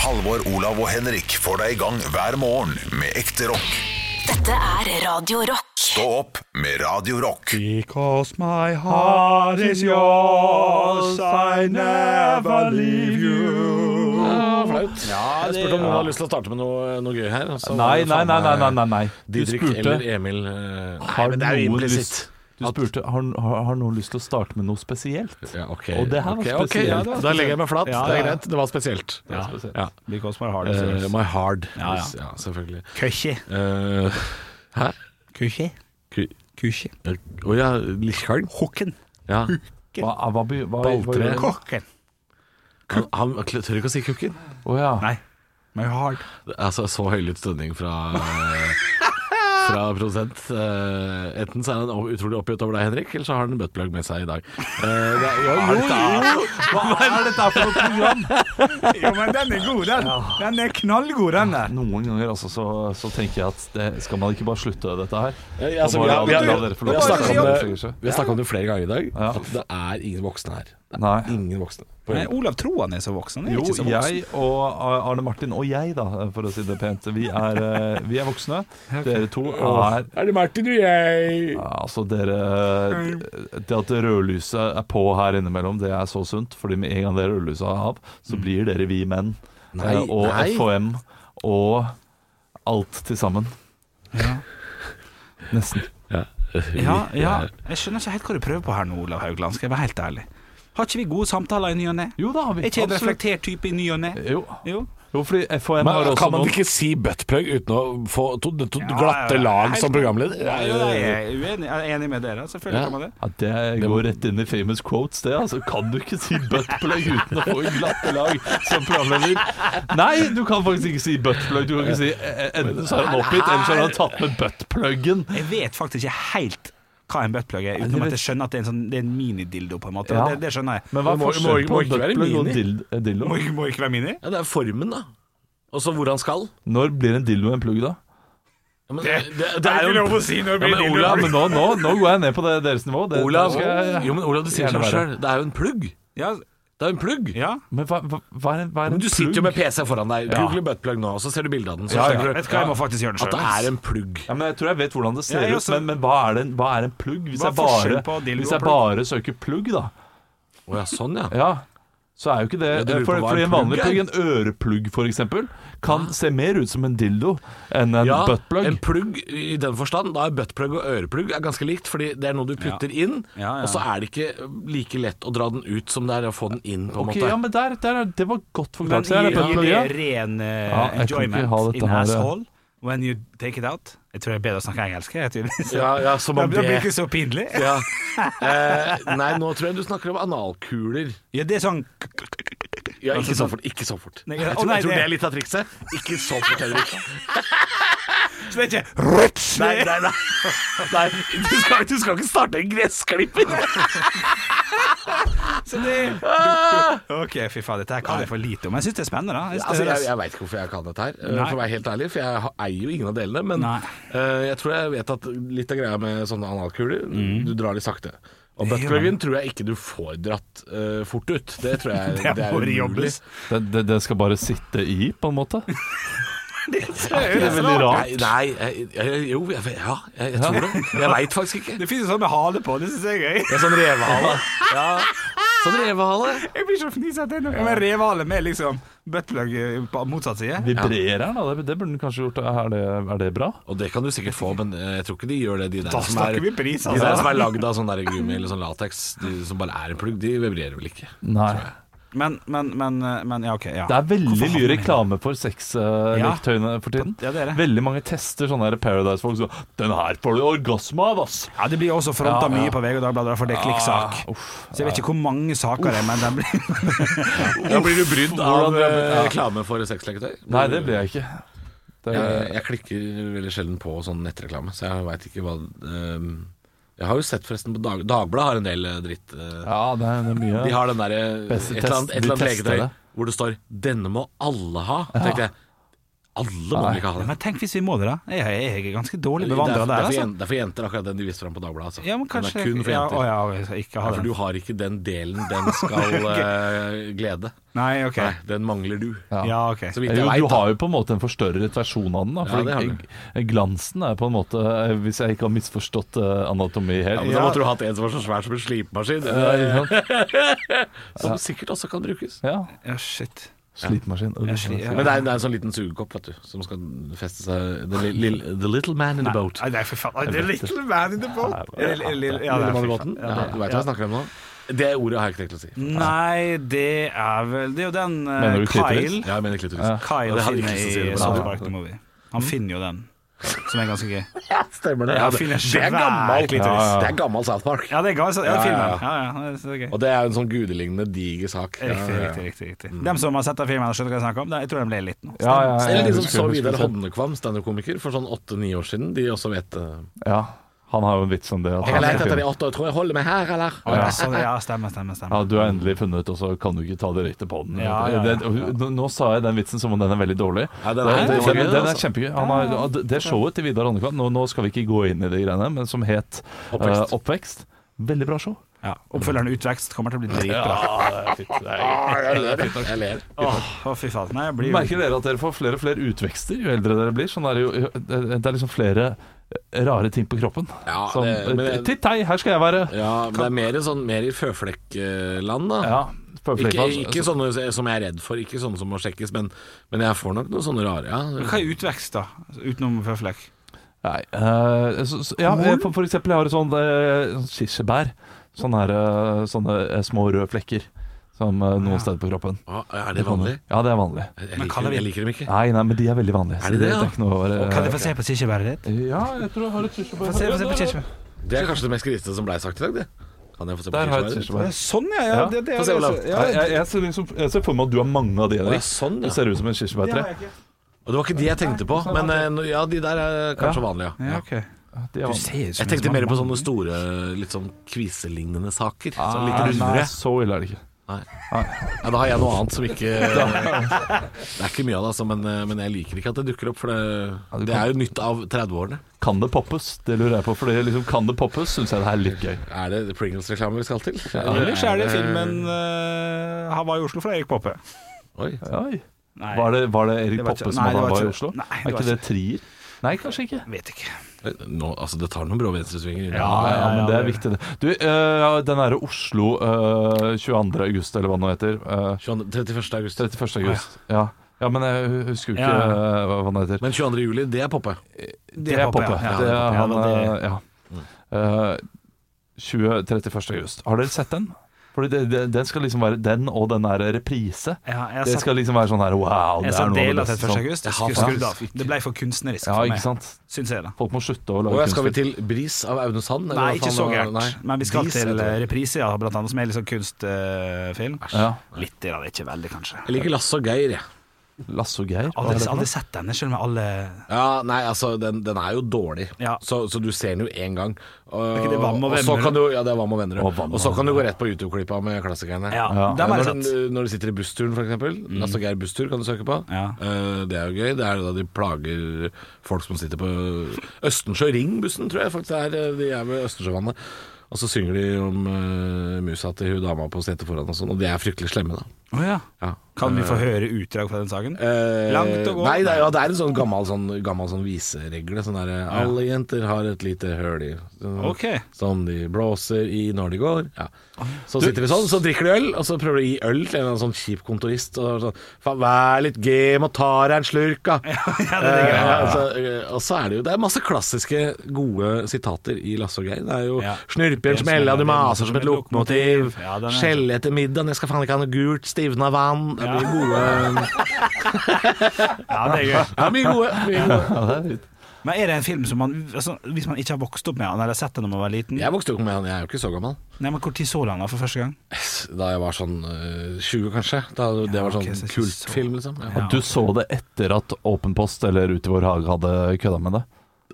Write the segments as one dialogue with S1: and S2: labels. S1: Halvor, Olav og Henrik får deg i gang hver morgen med ekte rock.
S2: Dette er Radio Rock.
S1: Stå opp med Radio Rock.
S3: Because my heart is yours, I never leave you.
S4: Ja, flaut. jeg spurte om noen hadde lyst til å starte med noe, noe gøy her. så var
S3: Nei,
S4: det
S3: nei, nei,
S4: faen
S3: nei,
S4: meg
S3: nei, nei, nei. Du
S4: Didrik
S3: spurte,
S4: eller Emil eh,
S3: har
S4: men det er jo
S3: noen
S4: implisitt.
S3: lyst- Du spurte, har, har, har noen lyst til å starte med noe spesielt?
S4: ja, ok,
S3: Og det her var
S4: ok, ok,
S3: spesielt.
S4: ja, det var da legger jeg meg flat.
S3: Ja,
S4: Det er
S3: ja.
S4: greit. Det var spesielt. Ja. Ja.
S3: Because my heart
S4: Eh, my hard.
S3: Ja, ja.
S4: Yes, ja selvfølgelig.
S3: Køsje.
S4: Eh, hæ?
S3: Køsje.
S4: Ku-
S3: Køsje.
S4: eh, Å ja, Lichard?
S3: Kokken.
S4: Ja.
S3: Hva, hva, by- hva, hva,
S4: Balltre.
S3: gjør du?
S5: Kokken.
S4: Han, han tør ikke å si kukken.
S3: Å ja.
S5: Nei. My heart.
S4: Altså, så høylytt stønning fra eh, Fra produsent. Eh, enten så er han utrolig oppgitt over deg, Henrik, eller så har han en buttplug med seg i dag. Eh, det er, jo, jo, jo.
S3: Hva er dette for noe program?
S5: Jo, men den er god, den. Den er knallgod, den der.
S3: Noen ganger altså, så, så tenker jeg at det, skal man ikke bare slutte dette her?
S4: Eh, altså,
S3: Og
S4: vi
S3: bare
S4: har, vi har,
S3: la dere få lov
S4: vi har
S3: til å
S4: snakket om
S3: utvikle
S4: det,
S3: seg.
S4: vi har snakket om det flere ganger i dag,
S3: Ja.
S4: at det er ingen voksne her. Det er
S3: Nei.
S4: ingen voksne. På
S5: Men
S4: øyeblikket.
S5: Olav tror han er så voksen. Han er
S3: Jo,
S5: ikke så voksen.
S3: jeg og Arne Martin og jeg, da, for å si det pent, vi er, eh, vi er voksne. Dere to er
S4: Er det Martin og jeg?
S3: ja, Altså, dere Det at rødlyset er på her innimellom, det er så sunt. Fordi med en gang det rødlyset er av, så blir dere vi menn.
S4: Mm. Nei,
S3: eh, og
S4: nei.
S3: FHM. Og alt til sammen. Nesten.
S4: Ja.
S5: Ja, ja. Jeg skjønner ikke helt hva du prøver på her nå, Olav Haugland. Skal jeg være helt ærlig. Har ikke vi gode samtaler i ny og ne?
S3: Jo, da har vi
S5: Er ikke jeg en
S3: absolutt-
S5: reflektert type i ny og ne?
S3: Jo.
S5: Jo.
S3: jo, fordi FHM har
S4: Men
S3: også
S4: kan man
S3: noen-
S4: ikke si buttplug uten å få to, to
S5: ja,
S4: glatte
S5: ja.
S4: lag
S5: Helt-
S4: som programleder?
S5: Ja, jo, jeg er uenig, jeg er enig med dere. Selvfølgelig
S4: Ja.
S5: kan man det.
S3: Ja, det går rett inn i famous quotes, det. altså Kan du ikke si buttplug uten å få en glatte lag som programleder? Nei, du kan faktisk ikke si buttplug. Du kan ikke si eh, Enten så er han oppgitt, eller så har han tatt med buttpluggen.
S5: Jeg vet faktisk ikke helt hva en buttplug er, utenom at jeg skjønner at det er en, sånn, det er en minidildo, på en måte.
S3: Ja.
S5: Det, det skjønner jeg.
S3: Men hva er
S4: Må- må-
S3: forskjellen
S4: må
S3: på
S4: ikke være
S3: buttplug og
S4: mini.
S3: dil- eh, dildo?
S5: Må ikke, må ikke være mini?
S4: Ja, det er formen, da. Og så hvor han skal.
S3: Når blir en dildo en plugg, da?
S4: Ja, men, det, det, det
S5: Det
S4: er
S5: er
S4: jo
S5: ikke lov å si når det
S4: Ja,
S5: blir
S4: men
S5: dildo.
S3: Ja, men nå, nå, nå går jeg ned på det, deres nivå. Det,
S4: Olav,
S3: det skal jeg-
S4: jo, men Olav, du sier
S3: gjerne
S4: det
S3: være.
S4: sjøl. Det er jo en plugg.
S5: Ja,
S4: Det er jo en plugg.
S5: ja.
S3: Men hva, hva, hva er en, hva er en
S4: Men du sitter jo
S3: plugg?
S4: med PC foran deg. Google buttplug nå, og så ser du bildet av den. Så
S3: Ja, ja.
S4: skjønner du
S5: Vet du hva, jeg må faktisk gjøre det
S4: at det
S5: selv.
S4: er en plugg.
S3: Ja, men jeg tror jeg vet hvordan det ser
S5: Ja, jeg
S3: ut,
S5: også-
S3: men, men hva, er det, en- hva er en plugg? Hvis
S5: Hva er
S3: jeg bare,
S5: forskjellen på dildo
S3: hvis
S5: og
S3: jeg bare søker plugg, da.
S4: Å ja, sånn ja.
S3: Ja, så er jo ikke det
S4: Ja, du lurer
S3: for,
S4: på hva
S3: Fordi
S4: en
S3: en vanlig
S4: plugg
S3: plugg,
S4: er? Ah.
S3: en øreplugg for eksempel Kan se mer ut som en dildo Enn en
S4: Ja,
S3: buttplug
S4: en plugg i den forstand. Da er buttplug og øreplugg er ganske likt, fordi det er noe du putter inn,
S5: Ja, ja.
S4: og så er det ikke like lett å dra den ut som det er å få den inn, på en
S3: Ok,
S4: måte.
S3: ja, men der, der er, det var godt
S5: Men
S3: forklart
S5: gir
S3: Men
S5: gir
S3: gir,
S5: det
S3: ja.
S5: ren eh,
S3: jeg kan ikke
S5: enjoyment
S3: ha
S5: in
S3: dette her, eh.
S5: asshole when you take it out? Jeg tror det er bedre å snakke engelsk. Jeg, tydeligvis.
S4: Ja, ja, som
S5: Da
S4: om
S5: da blir det
S4: det
S5: ikke så pinlig.
S4: ja. eh, Nei, nå tror jeg du snakker om analkuler.
S5: Ja, det er sånn
S4: Ja, ikke så fort. Ikke så fort.
S5: Nei,
S4: Jeg
S5: ikke-
S4: tror,
S5: Å, nei,
S4: jeg tror
S5: det-
S4: det er litt av trikset. Ikke så fort, Henrik.
S5: Så det er ikke ruts!
S4: Nei, nei, nei. nei du, skal, du skal ikke starte en gressklipper.
S5: Så det OK, fy faen, dette her kan jeg for lite om. Jeg syns det er spennende, da. Jeg synes
S4: Ah! Altså,
S5: det
S4: jeg
S5: høres-
S4: jeg veit ikke hvorfor jeg kan dette her, eh,
S5: Nei.
S4: for å være helt ærlig. For jeg ha- eier jo ingen av delene. Men
S5: Nei.
S4: eh, jeg tror jeg vet at litt av greia med sånne analkuler
S5: Mm.
S4: Du drar litt sakte. Og buttpluggen tror jeg ikke du får dratt eh, fort ut. Det tror jeg
S5: Det må jobbes.
S3: det, det, det skal bare sitte i på en måte Det
S4: Det
S3: er veldig
S4: Nei,
S3: rart
S4: nei jeg, jeg, jo, jeg, vet- ja, jeg, jeg tror det. Jeg veit faktisk ikke.
S5: Det finnes jo sånn med hale på, det syns jeg er gøy.
S4: Det er sånn revehale. Ja, sånn revehale.
S5: Jeg blir så fnisete ennå. Men revehale med liksom buttplug eh, på motsatt side?
S3: Vibrerer den da, det, det burde den kanskje gjort Er det, er det bra?
S4: Og det kan du sikkert få, men eh, jeg tror ikke de gjør det. De der,
S5: Da
S4: som er,
S5: snakker vi pris,
S4: de der
S5: altså.
S4: som er lagd av sånn der gummi eller sånn lateks, de som bare er en plugg, de vibrerer vel ikke.
S3: Nei
S5: Men, men, men, eh, men ja, OK. Ja.
S3: Det er veldig
S5: Hvorfor
S3: mye
S5: havner vi her?
S3: reklame for sexleketøyene for tiden
S5: Ja, det er det.
S3: Veldig mange tester sånne her Paradise-folk som, Den her får du orgasme av, ass
S5: Ja, Det blir også fronta
S3: Ja, ja.
S5: mye på VG og Dagbladet, for det er klikksak.
S4: Ah,
S5: Så jeg vet ikke hvor mange saker det er, men den blir
S4: Da blir du brydd av
S3: hvordan det er-
S4: eh,
S3: ja.
S4: reklame for sexleketøy.
S3: Nei, det blir jeg ikke det,
S4: Eh, Jeg klikker veldig sjelden på sånn nettreklame, så jeg veit ikke hva eh, Jeg har jo sett forresten på Dag, Dagbladet har en del eh, dritt. eh,
S3: Ja, det er, det er mye
S4: De har den derre et
S3: Beste
S4: eller annet,
S3: test- de
S4: et eller annet
S3: tester
S4: legetøy
S3: det.
S4: hvor det står 'Denne må alle ha'. Tenkte jeg Alle må vel ikke ha det.
S5: Men tenk hvis vi må det, da. Jeg, jeg, jeg er ganske dårlig
S4: Det er,
S5: bevandra
S4: det
S5: der.
S4: er for
S5: Altså.
S4: jen- det er for jenter akkurat den de viste fram på Dagbladet. Altså.
S5: Ja, men
S4: Den er
S5: kanskje
S4: kun for
S5: ja,
S4: jenter.
S5: å, ja, jeg skal ikke ha
S4: for du
S5: den.
S4: har ikke den delen den skal eh, glede.
S5: Nei, ok.
S4: Nei, den mangler du.
S5: Ja, ok.
S4: Så vidt
S3: Jo,
S4: jeg vet,
S3: du
S4: da.
S3: har jo på en måte en forstørret versjon av den. Da,
S4: Ja,
S3: fordi
S4: det har du.
S3: g- glansen er på en måte, eh, hvis jeg ikke har misforstått eh, anatomi
S4: Ja,
S3: helt
S4: men Da måtte du hatt en som var så svær som en slipemaskin. eh,
S3: Ja, ikke sant?
S4: Som sikkert også kan brukes.
S3: ja.
S5: Ja, shit.
S3: Slitmaskin.
S5: sli- ja.
S4: Men det er, det er en sånn liten sugekopp vet du, som skal feste seg The, li, li, the little man in the boat.
S5: Nei, nei, for faen. Nei, Det er Little Man in the Boat. Eller- eller- ja, det er
S4: Lille mann i
S5: for
S4: båten.
S5: faen.
S4: Ja, du veit hva jeg snakker om nå? Det ordet har jeg ikke tenkt å si.
S5: Nei, det er vel Det er jo den eh,
S3: Mener du klitoris?
S5: Kyle
S4: Ja, jeg mener klitoris.
S5: Kyle
S4: Jeg hadde ikke
S5: finner
S4: lyst til å si det,
S5: i
S4: men-
S5: South Park The Movie. Han finner jo den, som er ganske gøy.
S4: Ja, stemmer det.
S5: Ja,
S4: det,
S5: finner
S4: det
S5: svær
S4: er gammel
S5: klitoris.
S4: Det er gammel South Park.
S5: Ja, det er gammel, ja,
S4: ja,
S5: filmen. Ja, ja, det er gøy.
S4: Og det er jo en sånn gudelignende diger sak.
S5: Riktig, riktig, riktig, riktig. Dem som har sett den filmen og skjønt hva jeg snakker om, da, jeg tror de ler litt nå.
S3: Ja, ja, ja,
S4: Eller
S3: jeg
S4: liksom
S3: husker-
S4: så
S3: husker
S4: Vidar
S3: selv.
S4: Hodnekvam, standup-komiker, for sånn åtte-ni år siden. De også vet eh,
S3: Ja, han har jo en vits om det. at
S4: Jeg har
S3: han
S4: lett
S3: er
S4: etter det
S3: fin.
S4: i åtte år, tror jeg holder meg her, eller?
S5: Å, ja, sånn, ja, stemmer, stemmer.
S3: Ja,
S5: stemmer.
S3: du har endelig funnet, og så kan du ikke ta det riktig på den.
S5: Ja, ja, ja.
S3: Den- nå- nå sa jeg den vitsen som om den er veldig dårlig.
S4: Ja, den er
S3: den,
S4: veldig dårlig,
S3: den, den er
S4: altså.
S3: kjempegøy. Han har, ja, det- det showet til Vidar Andekvam, nå, nå skal vi ikke gå inn i de greiene, men som het eh,
S4: Oppvekst.
S3: oppvekst. Veldig bra show.
S5: Ja. Oppfølgeren Utvekst kommer til å bli dritbra.
S4: Jeg ler. Jeg ler.
S5: Åh, å, fy faen. Nei, jeg blir jo
S3: Merker dere at dere får flere og flere utvekster jo eldre dere blir? Sånn er det, jo, det er liksom flere eh, rare ting på kroppen.
S4: Ja,
S3: som eh,
S4: det- men-
S3: Titt hei, her skal jeg være!
S4: Ja, men det er mer, i sånn, mer i føflekkland, da.
S3: Ja, på altså.
S4: Ikke,
S3: flerfall.
S4: ikke sånne som jeg er redd for, ikke sånne som må sjekkes, men, men jeg får nok noen sånne rare. Ja.
S5: Hva er utvekst, da? Utenom føflekk?
S3: Nei, eh, så, så, ja,
S5: Korn?
S3: for, for eksempel jeg har et sånt eh, sånn kirsebær. Sånne, her, eh, sånne eh, små røde flekker som eh, noen steder på kroppen.
S4: Ah, Er det vanlig?
S3: Ja, det er vanlig.
S4: Jeg
S5: Men
S4: liker,
S5: kaller vi-
S4: jeg liker dem ikke.
S3: Nei, nei, men de er veldig vanlige. så
S4: Er de det, ja?
S3: er ikke noe å være-
S5: Kan jeg få se på kirsebæret ditt?
S3: Ja, jeg tror jeg har et kirsebær.
S5: Få se, få se på kirsebæret.
S4: Det er kanskje det mest grisete som blei sagt i dag, det. Kan jeg få se på
S3: Der har jeg et
S4: kirsebæret?
S3: kirsebær.
S5: Sånn, ja. ja,
S3: Ja.
S5: det, det,
S4: Få se,
S5: det-
S4: Olav.
S5: ja,
S3: Nei, jeg, jeg, ser liksom, jeg ser for meg at du har mange av de der.
S4: Å, ja, sånn, ja.
S3: Det ser ut som en kirsebærtre.
S4: Og det var ikke de jeg tenkte på, men eh, no- ja, de der er kanskje vanlige. ja.
S5: ja, ok.
S3: De er
S5: Du
S3: vanlige.
S5: ser ut som
S4: Jeg
S5: en
S4: tenkte
S5: som
S4: mer
S5: har
S4: på
S5: mange-
S4: sånne store, litt sånn kviselignende saker. Sånn litt
S3: Nei,
S4: rundere.
S3: nei, så ille er det ikke.
S4: Ja, da har jeg noe annet som ikke Det er ikke mye av det, altså, men, eh, men jeg liker ikke at det dukker opp, for det, det er jo nytt av 30-årene.
S3: Kan det poppes? Det lurer jeg på. For det liksom, kan det poppes, syns jeg det er litt gøy.
S4: Er det Pringles-reklame vi skal til?
S5: Ellers er det filmen eh, 'Han var i Oslo' fra Erik Poppe.
S4: Oi.
S3: Oi.
S5: Nei,
S3: Var det, var det Erik
S5: Det var ikke-
S3: Poppe som
S5: nei, det
S3: var,
S5: var
S3: var i
S5: ikke-
S3: Oslo?
S5: nei, det var
S3: er ikke det trier? Nei, kanskje ikke.
S5: vet ikke.
S4: Nå, altså, det tar noen brå venstresvinger. inn.
S3: Ja, ja, men det er viktig, det. Du, øh, den derre Oslo øh, 22. august, eller hva det nå heter. øh,
S4: 22 31. eh, august.
S3: 31. august. Ja. ja, men jeg husker jo ikke
S5: Ja.
S3: øh, hva hva den heter.
S4: Men 22. juli, det er poppe.
S3: Det er Poppe.
S5: Ja,
S3: Det er han,
S5: ja, det-
S3: øh, ja. Øh, 20, 31. august. Har dere sett den? Fordi det, det, den skal liksom være den og den der reprise.
S5: Ja, jeg
S3: Det
S5: satt,
S3: skal liksom være sånn her wow.
S5: jeg
S3: det er
S5: satt
S3: noe av det sånn.
S5: del av
S3: beste
S5: 31.
S3: som-
S5: august.
S4: Jeg har
S5: Skru-
S4: faktisk
S5: skrudd av. Det ble for kunstnerisk
S3: Ja,
S5: for
S3: ikke
S5: meg,
S3: sant.
S5: syns jeg, da.
S3: Folk må slutte å
S4: Og
S3: lage
S4: skal vi
S3: kunstfilm.
S4: til Bris av Aune Sand? eller
S5: Nei,
S4: hva
S5: ikke
S4: faen
S5: så
S4: det var? Nei.
S5: gærent. Men vi skal
S4: Dis,
S5: til eh,
S4: heter det.
S5: reprise, ja, blant annet, som er litt sånn kunstfilm.
S3: Ja.
S5: Litt del av det, ikke veldig, kanskje.
S4: Jeg liker Lasse og Geir, jeg.
S3: Lasse og Geir? hva er
S5: Aldri,
S3: det for noe?
S5: aldri sett denne, selv om jeg alle
S4: Ja, nei, altså, den, den er jo dårlig,
S5: Ja.
S4: så, så du ser den jo én gang. Og,
S5: ikke det Vam og
S4: og så
S5: Venner?
S4: kan du, ja, det er Vam og venner.
S3: Og Vam
S4: Og så
S3: og
S4: kan du gå rett på YouTube-klippa med klassikerne.
S5: Ja,
S3: Ja.
S5: dem har
S4: når,
S5: jeg sett.
S4: den- når du sitter i bussturen, f.eks. Mm. Lasse og Geir busstur kan du søke på.
S5: Ja.
S4: Eh, det er jo gøy. Det er jo da de plager folk som sitter på Østensjø Ring-bussen, tror jeg faktisk det er. De er ved Østensjøvannet. Og så synger de om eh, musa til hun dama på setet foran og sånn, og de er fryktelig slemme, da.
S5: Å ja.
S4: Ja.
S5: Kan vi få
S3: Eh.
S5: høre utdrag fra den saken?
S4: Eh,
S5: Langt å gå.
S4: Nei, det er, ja, det er en sånn gammel, sånn, gammel sånn viseregle. Sånn derre Alle jenter har et lite høl i sånn,
S5: Ok.
S4: Som de blåser i når de går.
S5: Ah,
S4: Ja. Så sitter de sånn, så drikker de øl, og så prøver de å gi øl til en eller annen sånn kjip kontorist. Og sånn Faen, vær litt game og ta deg en slurk, da.
S5: ja, det
S4: Eh,
S5: ligger
S4: ja, altså, eh, og så er det jo Det er masse klassiske gode sitater i Lasse og Geir. Det er jo
S5: Ja.
S4: 'Snurpe i en smella, du maser som et lokomotiv'.
S5: Ja, den er-
S4: Skjelle etter middagen, jeg skal faen ikke ha noe gult, stivna vann. Det blir gode
S5: Ja, det er gøy.
S4: ja, mye gode. Mye gode.
S3: Ja, det er litt-
S5: Men er det en film som man altså, Hvis man ikke har vokst opp med han, eller sett den når man var liten
S4: Jeg vokste opp med han, jeg er jo ikke så gammel.
S5: Nei, men Når så du han da for første gang?
S4: Da jeg var sånn eh, 20, kanskje. Da det var sånn
S5: ok, så ikke så-
S4: kultfilm, liksom. Ja.
S3: Du så det etter at Åpen post eller Ut i vår hage hadde kødda med det?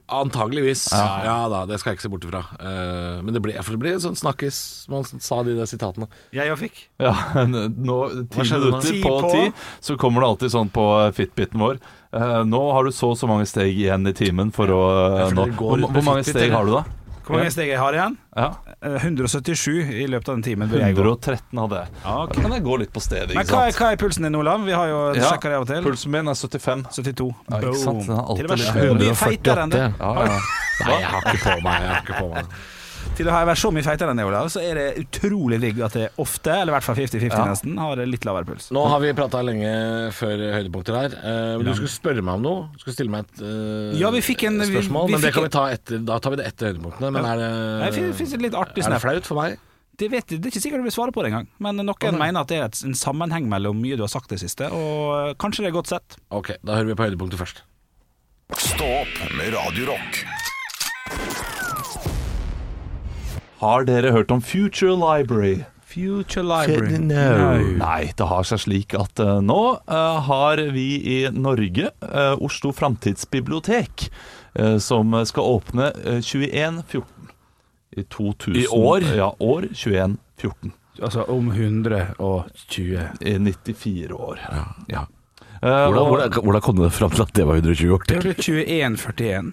S4: Antageligvis. Ja. da, det skal jeg ikke se bort ifra. Eh, men det ble, for det ble en sånn snakkis man sa de der sitatene.
S5: Jeg òg fikk.
S3: Ja, nå, ti
S4: skjedde nå?
S3: minutter
S5: Ti
S3: på
S5: på?
S3: ti, så kommer det alltid sånn på eh, Fitbiten vår. eh, nå har du så og så mange steg igjen i timen for å eh,
S4: for
S3: nå.
S4: dere går
S3: Hvor,
S4: rundt med
S3: hvor mange
S4: Fitbit,
S3: steg
S4: dere.
S3: har du da?
S5: Hvor mange steg jeg har igjen?
S3: Ja.
S5: Eh, 177 i løpet av den timen. bør jeg gå.
S3: 113 hadde jeg.
S5: Ja, ok.
S3: Da kan jeg gå litt på stedet,
S5: Men
S3: ikke
S5: hva er,
S3: sant?
S5: hva er pulsen din, Olav? Vi har jo
S3: Ja,
S5: sjekka det av og til.
S3: Pulsen min er 75.
S5: 72.
S3: Ja, ikke sant? Den er alltid
S5: Til å være
S3: litt
S5: så mye feitere enn det.
S3: Ja, ja.
S4: Nei, jeg har ikke på meg. Jeg har ikke på meg.
S5: Til å ha vært så mye feitere enn det, Olav, så er det utrolig digg at det ofte, eller i hvert fall 50-50
S3: Ja.
S5: nesten, har litt lavere puls.
S4: Nå har vi prata lenge før høydepunkter her. Eh, men Du skulle spørre meg om noe. Du skulle stille meg et eh,
S5: Ja, vi fikk en- vi-
S4: spørsmål.
S5: vi
S4: men det
S5: fikk
S4: kan
S5: en-
S4: vi ta etter. Da tar vi det etter høydepunktene. Men
S5: Ja.
S4: er det,
S5: Nei, Det fins et litt artig
S4: er det
S5: snap.
S4: flaut for meg?
S5: Det, vet, jeg- det er ikke sikkert du vil svare på det engang, men noen mener at det er et, en sammenheng mellom mye du har sagt det siste, og eh, kanskje det er godt sett.
S4: Ok, da hører vi på høydepunktet først.
S1: Stå opp med Radio Rock.
S3: Har dere hørt om Future Library?
S5: Future
S3: Library. Nei, det har seg slik at eh, nå eh, har vi i Norge eh, Oslo Framtidsbibliotek, eh, som skal åpne eh, 21.14. I 2000
S4: I år?
S3: Ja, år 21.14.
S5: Altså om 120
S3: I 94 år.
S4: Ja.
S3: Eh,
S4: Hvordan,
S3: og-
S4: hvordan, hvordan kom det fram til at det var 120 år?
S5: Det er 2141.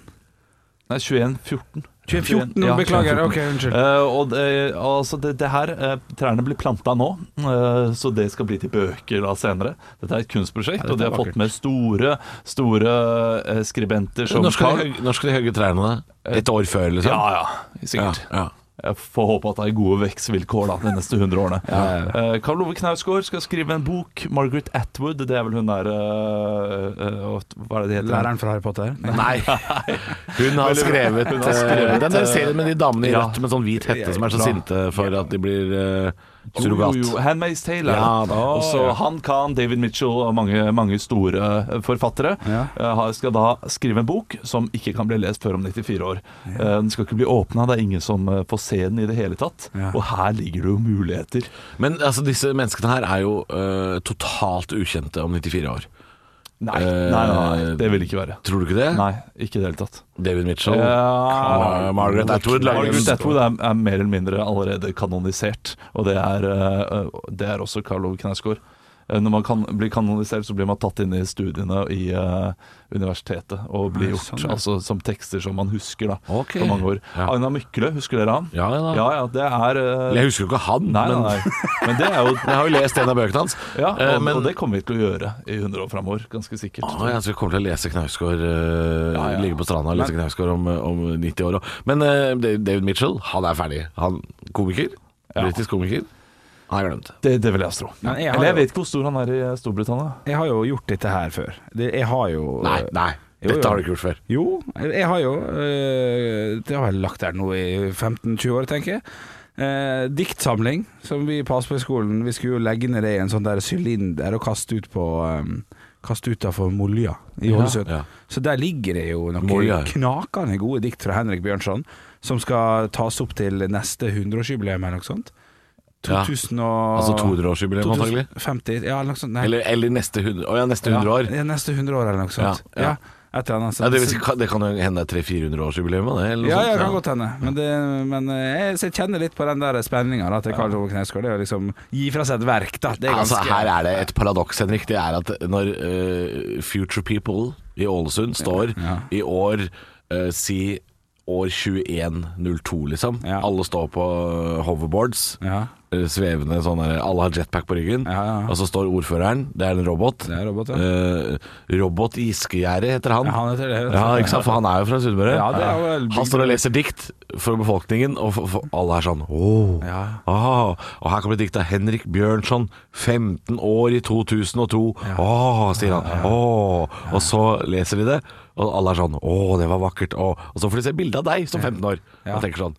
S3: Nei, 21.14.
S5: 2114,
S3: Ja,
S5: beklager.
S3: 21.14.
S5: Ok, unnskyld.
S3: Eh, og det, altså det, det her eh, Trærne blir planta nå, eh, så det skal bli til bøker da senere. Dette er et kunstprosjekt,
S5: dette
S3: og de
S5: er
S3: har
S5: vakkert.
S3: fått med store Store eh, skribenter som
S4: Når skal,
S3: Carl-
S4: de, hø- når skal de hogge trærne? da? Et år før, liksom?
S3: Ja, ja, sikkert.
S4: Ja, ja.
S3: Jeg får håpe at det er gode vekstvilkår da, de neste 100 årene. Eh, Karl Ove Knausgård skal skrive en bok. Margaret Atwood, det er vel hun der eh, eh, Hva er det de heter?
S5: Læreren fra Harry Potter.
S4: Nei. Hun har skrevet,
S3: Hun har skrevet,
S4: eh, Den der serien med de damene i
S3: ja.
S4: rødt med sånn hvit hette som er så
S3: Bra.
S4: sinte for at de blir eh,
S3: Jo, jo,
S4: surrogat.
S3: jo. Handmaid's Tale. er
S4: Ja,
S3: det.
S4: da.
S3: og så Han Khan, David Mitchell og mange, mange store eh, forfattere
S5: Ja.
S3: eh, har- skal da skrive en bok som ikke kan bli lest før om 94 år. Eh, Den skal ikke bli åpna, det er ingen som eh, får se den i det hele tatt.
S5: Ja.
S3: Og her ligger det jo muligheter.
S4: Men altså, disse menneskene her er jo eh, totalt ukjente om 94 år.
S3: Nei,
S4: Eh,
S3: nei, nei, nei det vil ikke være.
S4: Tror du ikke det?
S3: Nei, ikke i det hele tatt. Eh,
S4: David Mitchell.
S3: Ja,
S4: Mar- Margaret Atwood lager
S3: Margaret
S4: en
S3: Atwood er, er mer eller mindre allerede kanonisert, og det er, eh, det er også Karl Ove Knausgård. Eh, Når man kan, blir kanonisert, så blir man tatt inn i studiene i eh, universitetet og
S5: Ja,
S3: blir gjort
S5: sånn, ja.
S3: altså, som tekster som man husker da,
S4: Ok.
S3: for mange år.
S4: Ja.
S3: Agna Mykle, husker dere han?
S4: Ja, ja.
S3: ja, det er eh,
S4: Jeg husker jo ikke han,
S3: Nei,
S4: men
S3: nei, nei. Men det er jo
S4: jeg har jo lest en av bøkene hans.
S3: ja, og,
S4: Eh, men, Ah,
S3: og det kommer vi til å gjøre i 100 år framover, ganske sikkert.
S4: Å, jeg tror jeg kommer til å lese Knausgård eh,
S3: Ja, ja.
S4: Ligge på stranda og lese Knausgård om, eh, om 90 år også. Men eh, David Mitchell, han er ferdig Han komiker, britisk komiker Han er glemt
S3: Det, det vil jeg tro.
S5: Men jeg har
S3: Eller jeg
S5: jo-
S3: vet ikke hvor stor han er i Storbritannia.
S5: Jeg har jo gjort dette her før. Det, jeg har jo
S4: Nei, nei,
S5: Jo, jo.
S4: dette har du ikke gjort før
S5: Jo, jeg har jo eh, Det har jeg lagt der nå i 15-20 år, tenker jeg. Eh, diktsamling, som vi på Aspøyskolen Vi skulle jo legge ned det i en sånn der sylinder og kaste ut på eh, Kaste utafor Molja i Ålesund.
S4: ja.
S5: Så der ligger det jo noen
S4: Molja.
S5: knakende gode dikt fra Henrik Bjørnson, som skal tas opp til neste 100-årsjubileum eller noe sånt.
S4: Ja.
S5: 2000
S4: Altså 200-årsjubileum antagelig
S5: 2050, ja, eller noe sånt. Nei.
S4: eller, eller neste 100, Å ja, neste 100 år
S5: Ja, neste 100 år eller noe sånt.
S4: Ja,
S5: Ja,
S4: ja.
S5: Et eller annet.
S4: ja, det, vil- kan- det kan jo hende 300-400 årsjubileum av det, eller noe
S5: Ja,
S4: sånt.
S5: ja, det kan godt hende. Men, det, men eh, jeg, så jeg kjenner litt på den der spenninga til Karl Ove Knausgård. Det er å liksom gi fra seg et verk, da. Det er
S4: Altså
S5: ganske
S4: her er det et paradoks, Henrik Det er at når eh, Future People i Ålesund står
S5: Ja.
S4: I år, eh, si år 2102 liksom
S5: Ja.
S4: Alle står på eh, hoverboards
S5: Ja,
S4: eh, svevende sånn der, Alle har jetpack på ryggen,
S5: Ja, ja, ja.
S4: og så står ordføreren. Det er en robot.
S5: Det er en robot, ja.
S4: Eh, robot Giskegjerde heter han.
S5: Ja, han heter det, vet du.
S4: Ja, ikke sant? For han er jo fra Sunnmøre.
S5: Ja, det er jo-
S4: Han står og leser dikt for befolkningen, og for, for alle er sånn åh,
S5: Ja.
S4: ah». Og her kommer et dikt av Henrik Bjørnson, 15 år i 2002. Åh, sier han. Åh. Og så leser de det, og alle er sånn åh, det var vakkert. Åh. Og så får de se bilde av deg som 15 år,
S5: Ja.
S4: og tenker sånn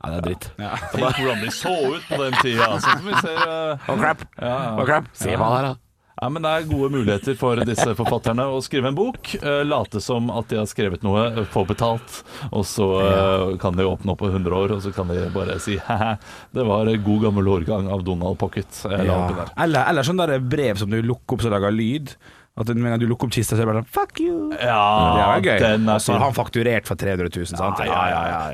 S4: Nei, det er dritt.
S3: Tenk hvordan de så ut på den tida. Altså, som vi ser, eh,
S4: Og crap. Og crap. Se hva han er, da.
S3: ja, men det er gode muligheter for disse forfatterne å skrive en bok, eh, late som at de har skrevet noe, eh, få betalt, og så eh, kan de åpne opp på 100 år, og så kan de bare si hæ det var en god gammel årgang av Donald Pocket. Jeg la oppi der.
S5: Eller, eller sånn der brev som du lukker opp som lager lyd. At med en gang du lukker opp kista, så er det bare sånn Fuck you!
S3: Ja,
S5: det er jo
S3: den
S5: gøy.
S3: er
S5: Og så har
S3: fin.
S5: han fakturert for 300 000, sant?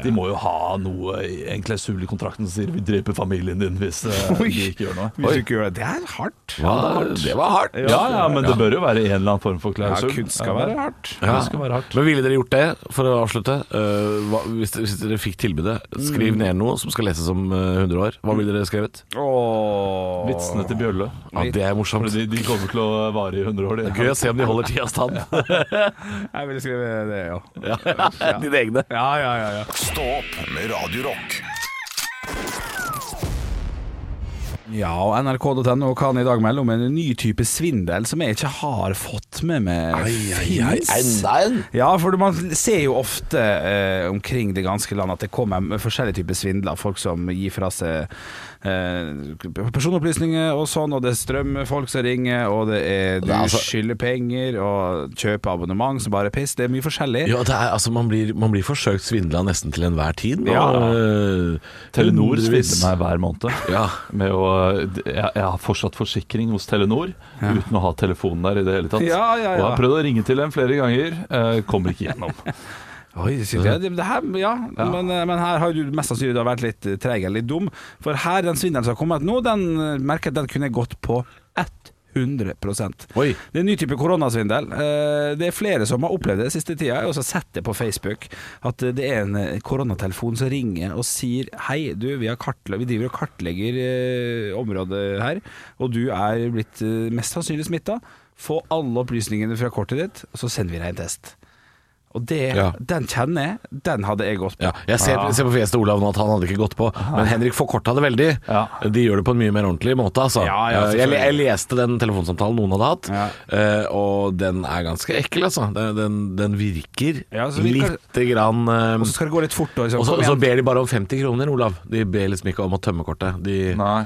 S3: De må jo ha noe i en klausul i kontrakten som sier 'vi dreper familien din' hvis eh,
S5: Oi.
S3: de ikke gjør noe.
S5: Hvis du ikke gjør det Det er hardt.
S4: det var hardt.
S3: Ja, ja, men det bør jo være en eller annen form for
S5: Ja,
S3: klausul.
S5: kunst skal være hardt.
S4: Ja.
S3: Det skal være hardt.
S4: Men ville dere gjort det, for å avslutte? øh, hva, hvis, dere- hvis dere fikk tilbudet, skriv ned noe som skal leses om øh, 100 år. Hva ville dere skrevet?
S5: Åh.
S3: Vitsene til Bjølle.
S4: Ja, det er
S3: For
S4: morsomt.
S3: de, de kommer til å vare i 100 år. de.
S4: Gøy å se om de holder tida stand.
S5: Jeg ville skrevet det, ja.
S4: Dine egne.
S5: Ja, ja, ja. ja.
S1: Stå opp med Radio Rock.
S5: Ja, og NRK.no kan i dag melde om en ny type svindel som jeg ikke har fått med meg. finnes.
S4: en.
S5: Ja, for man ser jo ofte eh, omkring det ganske land at det kommer med forskjellige typer svindler. Folk som gir fra seg eh, personopplysninger og sånn, og det er strømfolk som ringer, og det er du
S4: Det er altså-
S5: skylder penger og kjøper abonnement som bare er piss. Det er mye forskjellig.
S4: Ja, det er, altså, man, blir, man blir forsøkt svindla nesten til enhver tid.
S5: Ja.
S4: Og, øh,
S3: Telenor
S4: hundrevis-
S3: svindler meg hver måned.
S4: Ja.
S3: Med å, jeg, jeg har fortsatt forsikring hos Telenor uten å ha telefonen der i det hele tatt.
S5: Ja, ja, ja.
S3: Og jeg har prøvd å ringe til dem flere ganger. Eh, kommer ikke gjennom.
S5: Oi, shit, ja, det, det her, ja, Men, eh, men her har du mest sannsynlig da vært litt eh, treig eller litt dum. For her, den svindelen som har kommet nå, den eh, merker jeg at den kunne jeg gått på 100
S4: Oi.
S5: Det er en ny type koronasvindel. Eh, Det er flere som har opplevd det siste tida. Jeg har også sett det på Facebook. At eh, det er en eh, koronatelefon som ringer og sier Hei, du, vi, har kartla- vi driver og kartlegger eh, området her, og du er blitt eh, mest sannsynlig smitta. Få alle opplysningene fra kortet ditt, og så sender vi deg en test. Og det,
S4: Ja.
S5: den kjenner jeg, den hadde jeg gått på.
S4: Ja, jeg ser, ser på fjeset til Olav nå at han hadde ikke gått på, men Henrik forkorta det veldig.
S3: Ja.
S4: De gjør det på en mye mer ordentlig måte, altså.
S5: Ja, ja,
S4: Eh, jeg, le- jeg leste den telefonsamtalen noen hadde hatt,
S5: Ja.
S4: eh, og den er ganske ekkel, altså. Den, den, den virker
S5: Ja, så virker-
S4: lite grann eh,
S5: Og så skal det gå litt fort. Og liksom,
S4: og så,
S5: kom
S4: og så
S5: igjen.
S4: ber de bare om 50 kroner, Olav. De ber liksom ikke om å tømme kortet. De,
S3: Nei.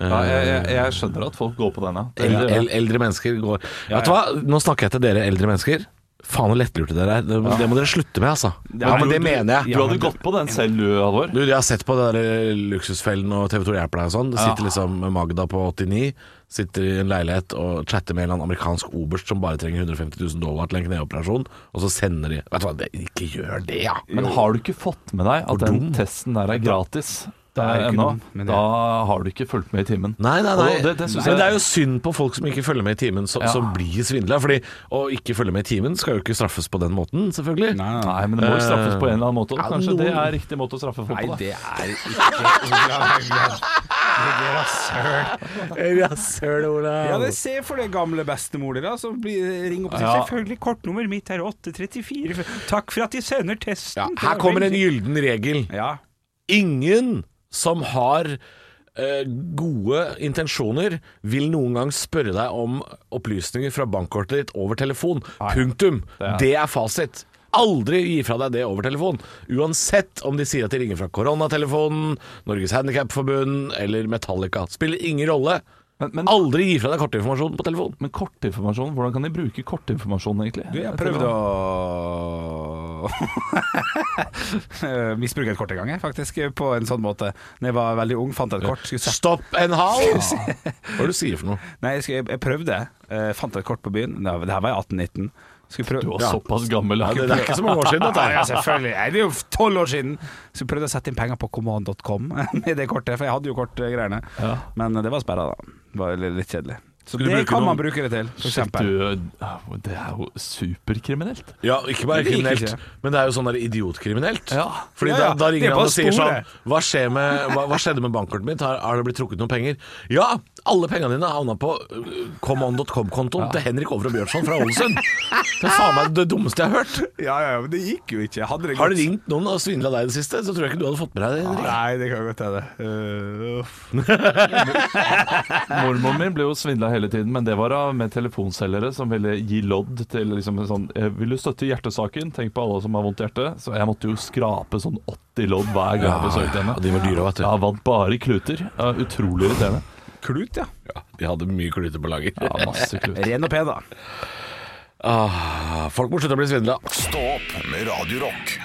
S4: eh,
S3: Ja, jeg, jeg, jeg skjønner at folk går på denne. Det-
S4: el, el, eldre mennesker går Vet du hva, nå snakker jeg til dere eldre mennesker. Faen hvor lettlurte dere er. Det, det må dere slutte med, altså.
S5: Ja,
S4: men
S5: men
S4: det
S5: du-
S4: mener jeg.
S3: Du hadde gått på den selv, du, Halvor.
S4: Du, jeg har sett på det der eh, luksusfellen og TV 2 hjelper deg og sånn. Det sitter liksom Magda på 89, sitter i en leilighet og chatter med en eller annen amerikansk oberst som bare trenger 150 000 dollar til en kneoperasjon, og så sender de Vet du hva, det, ikke gjør det, ja!
S3: Men har du ikke fått med deg at den testen der er gratis
S5: er
S3: der
S5: ikke
S3: ennå,
S5: dum, men det-
S3: da har du ikke fulgt med i timen.
S4: Nei, nei, nei.
S3: Og det, det synes
S4: Men
S3: jeg-
S4: det er jo synd på folk som ikke følger med i timen, som,
S3: Ja.
S4: som blir svindla. Fordi å ikke følge med i timen skal jo ikke straffes på den måten, selvfølgelig.
S5: Nei, nei,
S3: Nei, men det må jo straffes på en eller annen måte. Og
S4: Ja,
S3: kanskje det
S4: noen-
S3: er riktig måte å straffe folk
S5: nei,
S3: på. Da.
S5: det er ikke Olav Haugland. Det er rasshøl.
S4: Ja, søren, Olav.
S5: Ja, det ser for det gamle bestemor da, som blir, ringer opp og sier
S3: Ja.
S5: Selvfølgelig, kortnummer mitt er 834. Takk for at de sender testen.
S4: Ja, her kommer en gylden regel.
S5: Ja.
S4: Ingen som har eh, gode intensjoner vil noen gang spørre deg om opplysninger fra bankkortet ditt over telefon. Punktum. Det er, fasit. Aldri gi fra deg det over telefon. Uansett om de sier at de ringer fra koronatelefonen, Norges Handikapforbund eller Metallica. Spiller ingen rolle.
S3: Men, men,
S4: Aldri gi fra deg kortinformasjon på telefon.
S3: men kortinformasjon, hvordan kan de bruke kortinformasjon, egentlig?
S5: Du, jeg prøvde å Eh, misbruke et kort en gang, jeg, faktisk, på en sånn måte. Når jeg var veldig ung, fant jeg et kort. Skulle sette
S4: Stopp en hal! Hva er det du sier for noe?
S5: Nei, jeg, skulle, jeg, jeg prøvde. eh, fant et kort på byen. Det her var jeg 18-19. Skulle prøve
S3: Du var såpass gammel.
S4: Ja, det, det er ikke så mange år siden dette
S5: Ja,
S4: her.
S5: selvfølgelig. Nei, det er jo tolv år siden. Så jeg prøvde å sette inn penger på command.com med det kortet, for jeg hadde jo kortgreiene.
S3: Ja.
S5: Men eh, det var sperra, da. Det var litt- litt kjedelig. Så
S3: du
S5: det
S3: bruke
S5: kan
S3: noen-
S5: man bruke det til, for
S3: Shit,
S5: eksempel.
S3: du, øh, det er jo superkriminelt.
S4: Ja, ikke bare
S5: Det liker
S4: kriminelt,
S5: ikke
S4: men det er jo sånn der idiotkriminelt.
S3: Ja.
S4: Fordi
S5: Ja, ja,
S4: Da, da
S5: det er
S4: ringer
S5: på
S4: han og sier sånn
S5: sporet.
S4: hva, skjer med, hva, hva skjedde med bankkortet mitt? Har, har det blitt trukket noen penger? Ja, alle pengene dine havna på øh, common.com-kontoen til Henrik Over og Bjørnson fra Ålesund. Det er faen meg det dummeste jeg har hørt.
S5: Ja, ja, men det gikk jo ikke. Hadde det
S4: Har det ringt noen og svindla deg i det siste, så tror jeg ikke du hadde fått med deg det. Henrik.
S5: Nei, det kan godt Eh, hende.
S3: Mormoren min ble jo svindla hele tiden, men det var av med telefonselgere som ville gi lodd til liksom en sånn eh, Vil du støtte hjertesaken? Tenk på alle som har vondt hjerte. Så jeg måtte jo skrape sånn 80 lodd hver gang jeg besøkte
S4: og
S3: henne.
S4: de var dyre, vet du.
S3: Jeg vant bare i kluter. Ja, Utrolig irriterende.
S5: Klut, ja.
S4: Ja, de hadde mye kluter på lager.
S3: Ja, masse kluter.
S5: Ren og pen, da.
S4: Ah, folk må slutte å bli svindla.
S1: Stå opp med Radio Rock.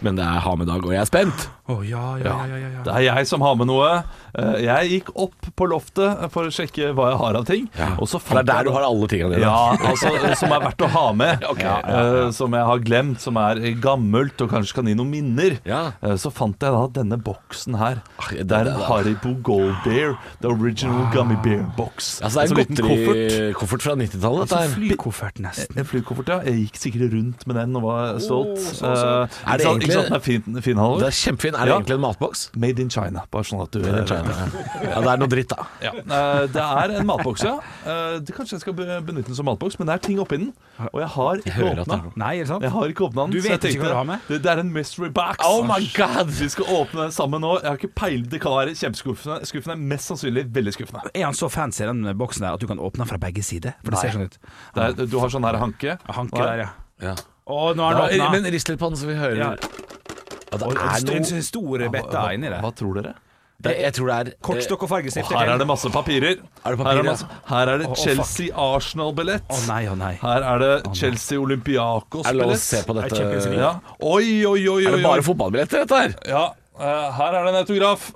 S4: Men det er ha med dag, og jeg er spent.
S5: ja, ja, ja, ja, ja.
S3: Det er jeg som har med noe. Eh, Jeg gikk opp på loftet for å sjekke hva jeg har av ting. Og så fant
S4: For det er der du
S3: jeg
S4: har alle tingene dine.
S3: ja, altså,
S4: eh,
S3: som er verdt å ha med.
S4: Ok.
S3: Eh, som jeg har glemt, som er gammelt og kanskje kan gi noen minner.
S4: Ja.
S3: Eh, så fant jeg da denne boksen her.
S4: Ah,
S3: Det er en Haribo Gold Bear. The Original Gummy Bear-boks.
S4: Altså, Ah. det er en
S3: liten koffert.
S4: godteri- koffert fra 90-tallet. dette
S5: Så
S4: her.
S5: flykoffert nesten.
S3: En flykoffert, ja. Jeg gikk sikkert rundt med den og var stolt.
S4: søt.
S3: Eh,
S4: Oh, Er
S3: ikke
S4: det
S3: sant-
S4: egentlig-
S3: Ikke sant den er fin, fin Halvor?
S4: Det er kjempefin. Er det
S3: Ja.
S4: egentlig en matboks?
S3: Made in China, bare sånn at du
S4: Ja, det er noe dritt, da.
S3: Ja. Eh, Det er en matboks, ja. Eh, det- Kanskje jeg skal be- benytte den som matboks, men det er ting oppi den. Og jeg har
S4: hører
S3: ikke
S4: at det er
S3: åpna.
S5: Nei, er det sant?
S3: Jeg har ikke åpna den.
S5: Du
S3: så
S5: vet
S3: jeg
S5: ikke hva du har med?
S3: Det, det er en mystery box.
S4: Oh my God!
S3: Vi skal åpne den sammen nå. Jeg har ikke peiling. Det kan være kjempeskuffende. Skuffende, Mest sannsynlig veldig skuffende.
S5: Er han så fancy den boksen der at du kan åpne den fra begge sider? For det
S3: Nei.
S5: ser sånn ut.
S3: Det er, du har sånn her hanke.
S5: Hanke der, ja.
S4: Ja.
S5: Å, nå har han åpna.
S4: men rist litt på den, så vi hører
S5: Ja.
S4: Ja, det er
S5: En
S4: noe
S5: st- stor betta
S3: Hva-
S5: inni der.
S3: Hva tror dere?
S4: det, Jeg tror det er eh,
S5: Kortstokk og fargestift.
S3: Her er det masse papirer.
S4: Er det papirer,
S3: her, er
S4: ja?
S3: masse, her er det
S5: Å, å, fuck.
S3: Chelsea-Arsenal-billett.
S5: Å nei, å nei.
S3: Her er det
S4: Er det lov å se
S3: Chelsea-Olympiakos-billett.
S4: på dette?
S5: Det er Champions League.
S3: Ja. Oi, oi, oi,
S4: Er
S3: oi,
S4: det
S3: oi.
S4: bare fotballbilletter, dette her?
S3: Ja, eh, her er det en autograf.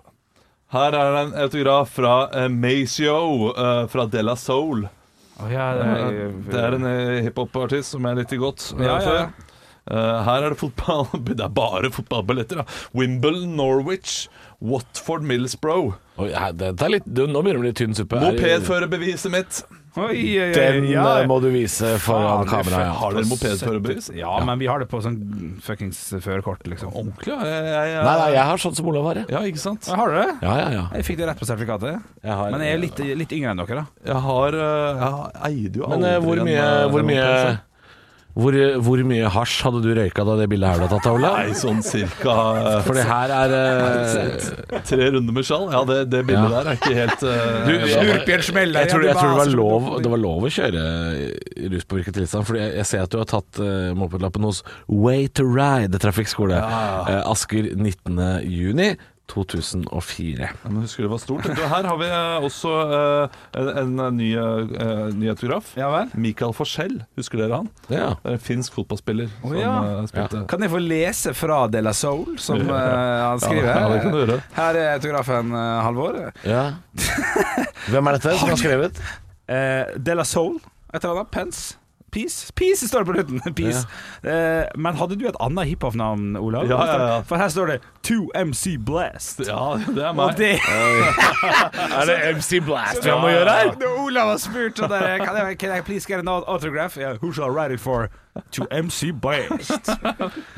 S3: Her er det en autograf fra uh, Maceo eh, fra De La Soul.
S5: Å, ja, det
S3: Eh,
S5: er,
S3: det er en eh, hiphop-artist som jeg likte godt eh,
S5: Ja, ja, ja.
S3: før. Eh, her er det fotball Det er bare fotballbilletter, da. Wimbledon, Norwich, Watford, Middlesbrough.
S4: Oi, her- dette er litt, du, nå begynner det å bli tynn suppe. Er-
S3: Mopedførerbeviset mitt.
S5: Oi, oi, oi,
S4: Den
S5: ja.
S4: eh, må du vise foran
S5: Faen,
S4: kamera. Ja.
S3: Har dere mopedførerbevis?
S5: Ja, men vi har det på sånn fuckings førerkort, liksom.
S3: Ordentlig, ja. Jeg, Eh, jeg, jeg,
S4: Nei, nei, jeg har sånn som Olav har, jeg.
S3: Ja, ikke sant?
S5: Ja, Har du det?
S4: Ja, ja, ja.
S5: Jeg fikk det rett på sertifikatet.
S4: Jeg har-
S5: Men jeg er jo litt, litt yngre enn dere, da.
S3: Jeg har eh, Jeg eide jo
S4: Men
S3: aldri
S4: eh, hvor
S3: en,
S4: mye,
S3: eh,
S4: hvor mye
S3: moped, så.
S4: hvor, hvor mye hasj hadde du røyka da det bildet her ble tatt av, Olav?
S3: Nei, sånn cirka eh,
S4: For det her er eh,
S3: tre runder med skjall. Ja, det, det bildet
S4: Ja.
S3: der er ikke helt eh,
S4: Du, jeg-
S5: Slurp i en smell der,
S4: Jeg tror,
S5: ja,
S4: jeg
S5: du
S4: tror det, var
S5: baser på
S4: lov,
S5: dopamin.
S4: det var lov å kjøre i ruspåvirket tilstand. Fordi jeg, jeg ser at du har tatt eh, mopedlappen hos Way to Ride trafikkskole. Eh, Asker 19. juni 2004.
S3: Ja, Men husker du det var stort? Du, her har vi eh, også eh, en, en ny, eh, ny autograf.
S5: Ja vel?
S3: Mikael Forsell, husker dere han?
S4: Ja.
S3: Det er en finsk fotballspiller som
S5: ja.
S3: eh, spilte
S5: Kan jeg få lese fra De La Soul, som eh, han skriver?
S3: Ja, det kan du gjøre.
S5: Her er autografen, eh, Halvor.
S4: ja. Hvem er dette som har skrevet?
S5: Eh, De La Soul, et eller annet. Pence. Peace. Peace står det på slutten. Peace. Eh, men hadde du et annet hiphop-navn, Olav?
S3: Ja, ja, ja.
S5: For her står det 2MC Blast.
S3: Ja, det er
S5: Og
S3: meg.
S5: det
S4: Er det MC Blast
S3: vi må gjøre her?
S5: Når Olav har spurt og der, kan, jeg, can I please get an aut- autograph? Yeah, who shall write it for? To MC Blast.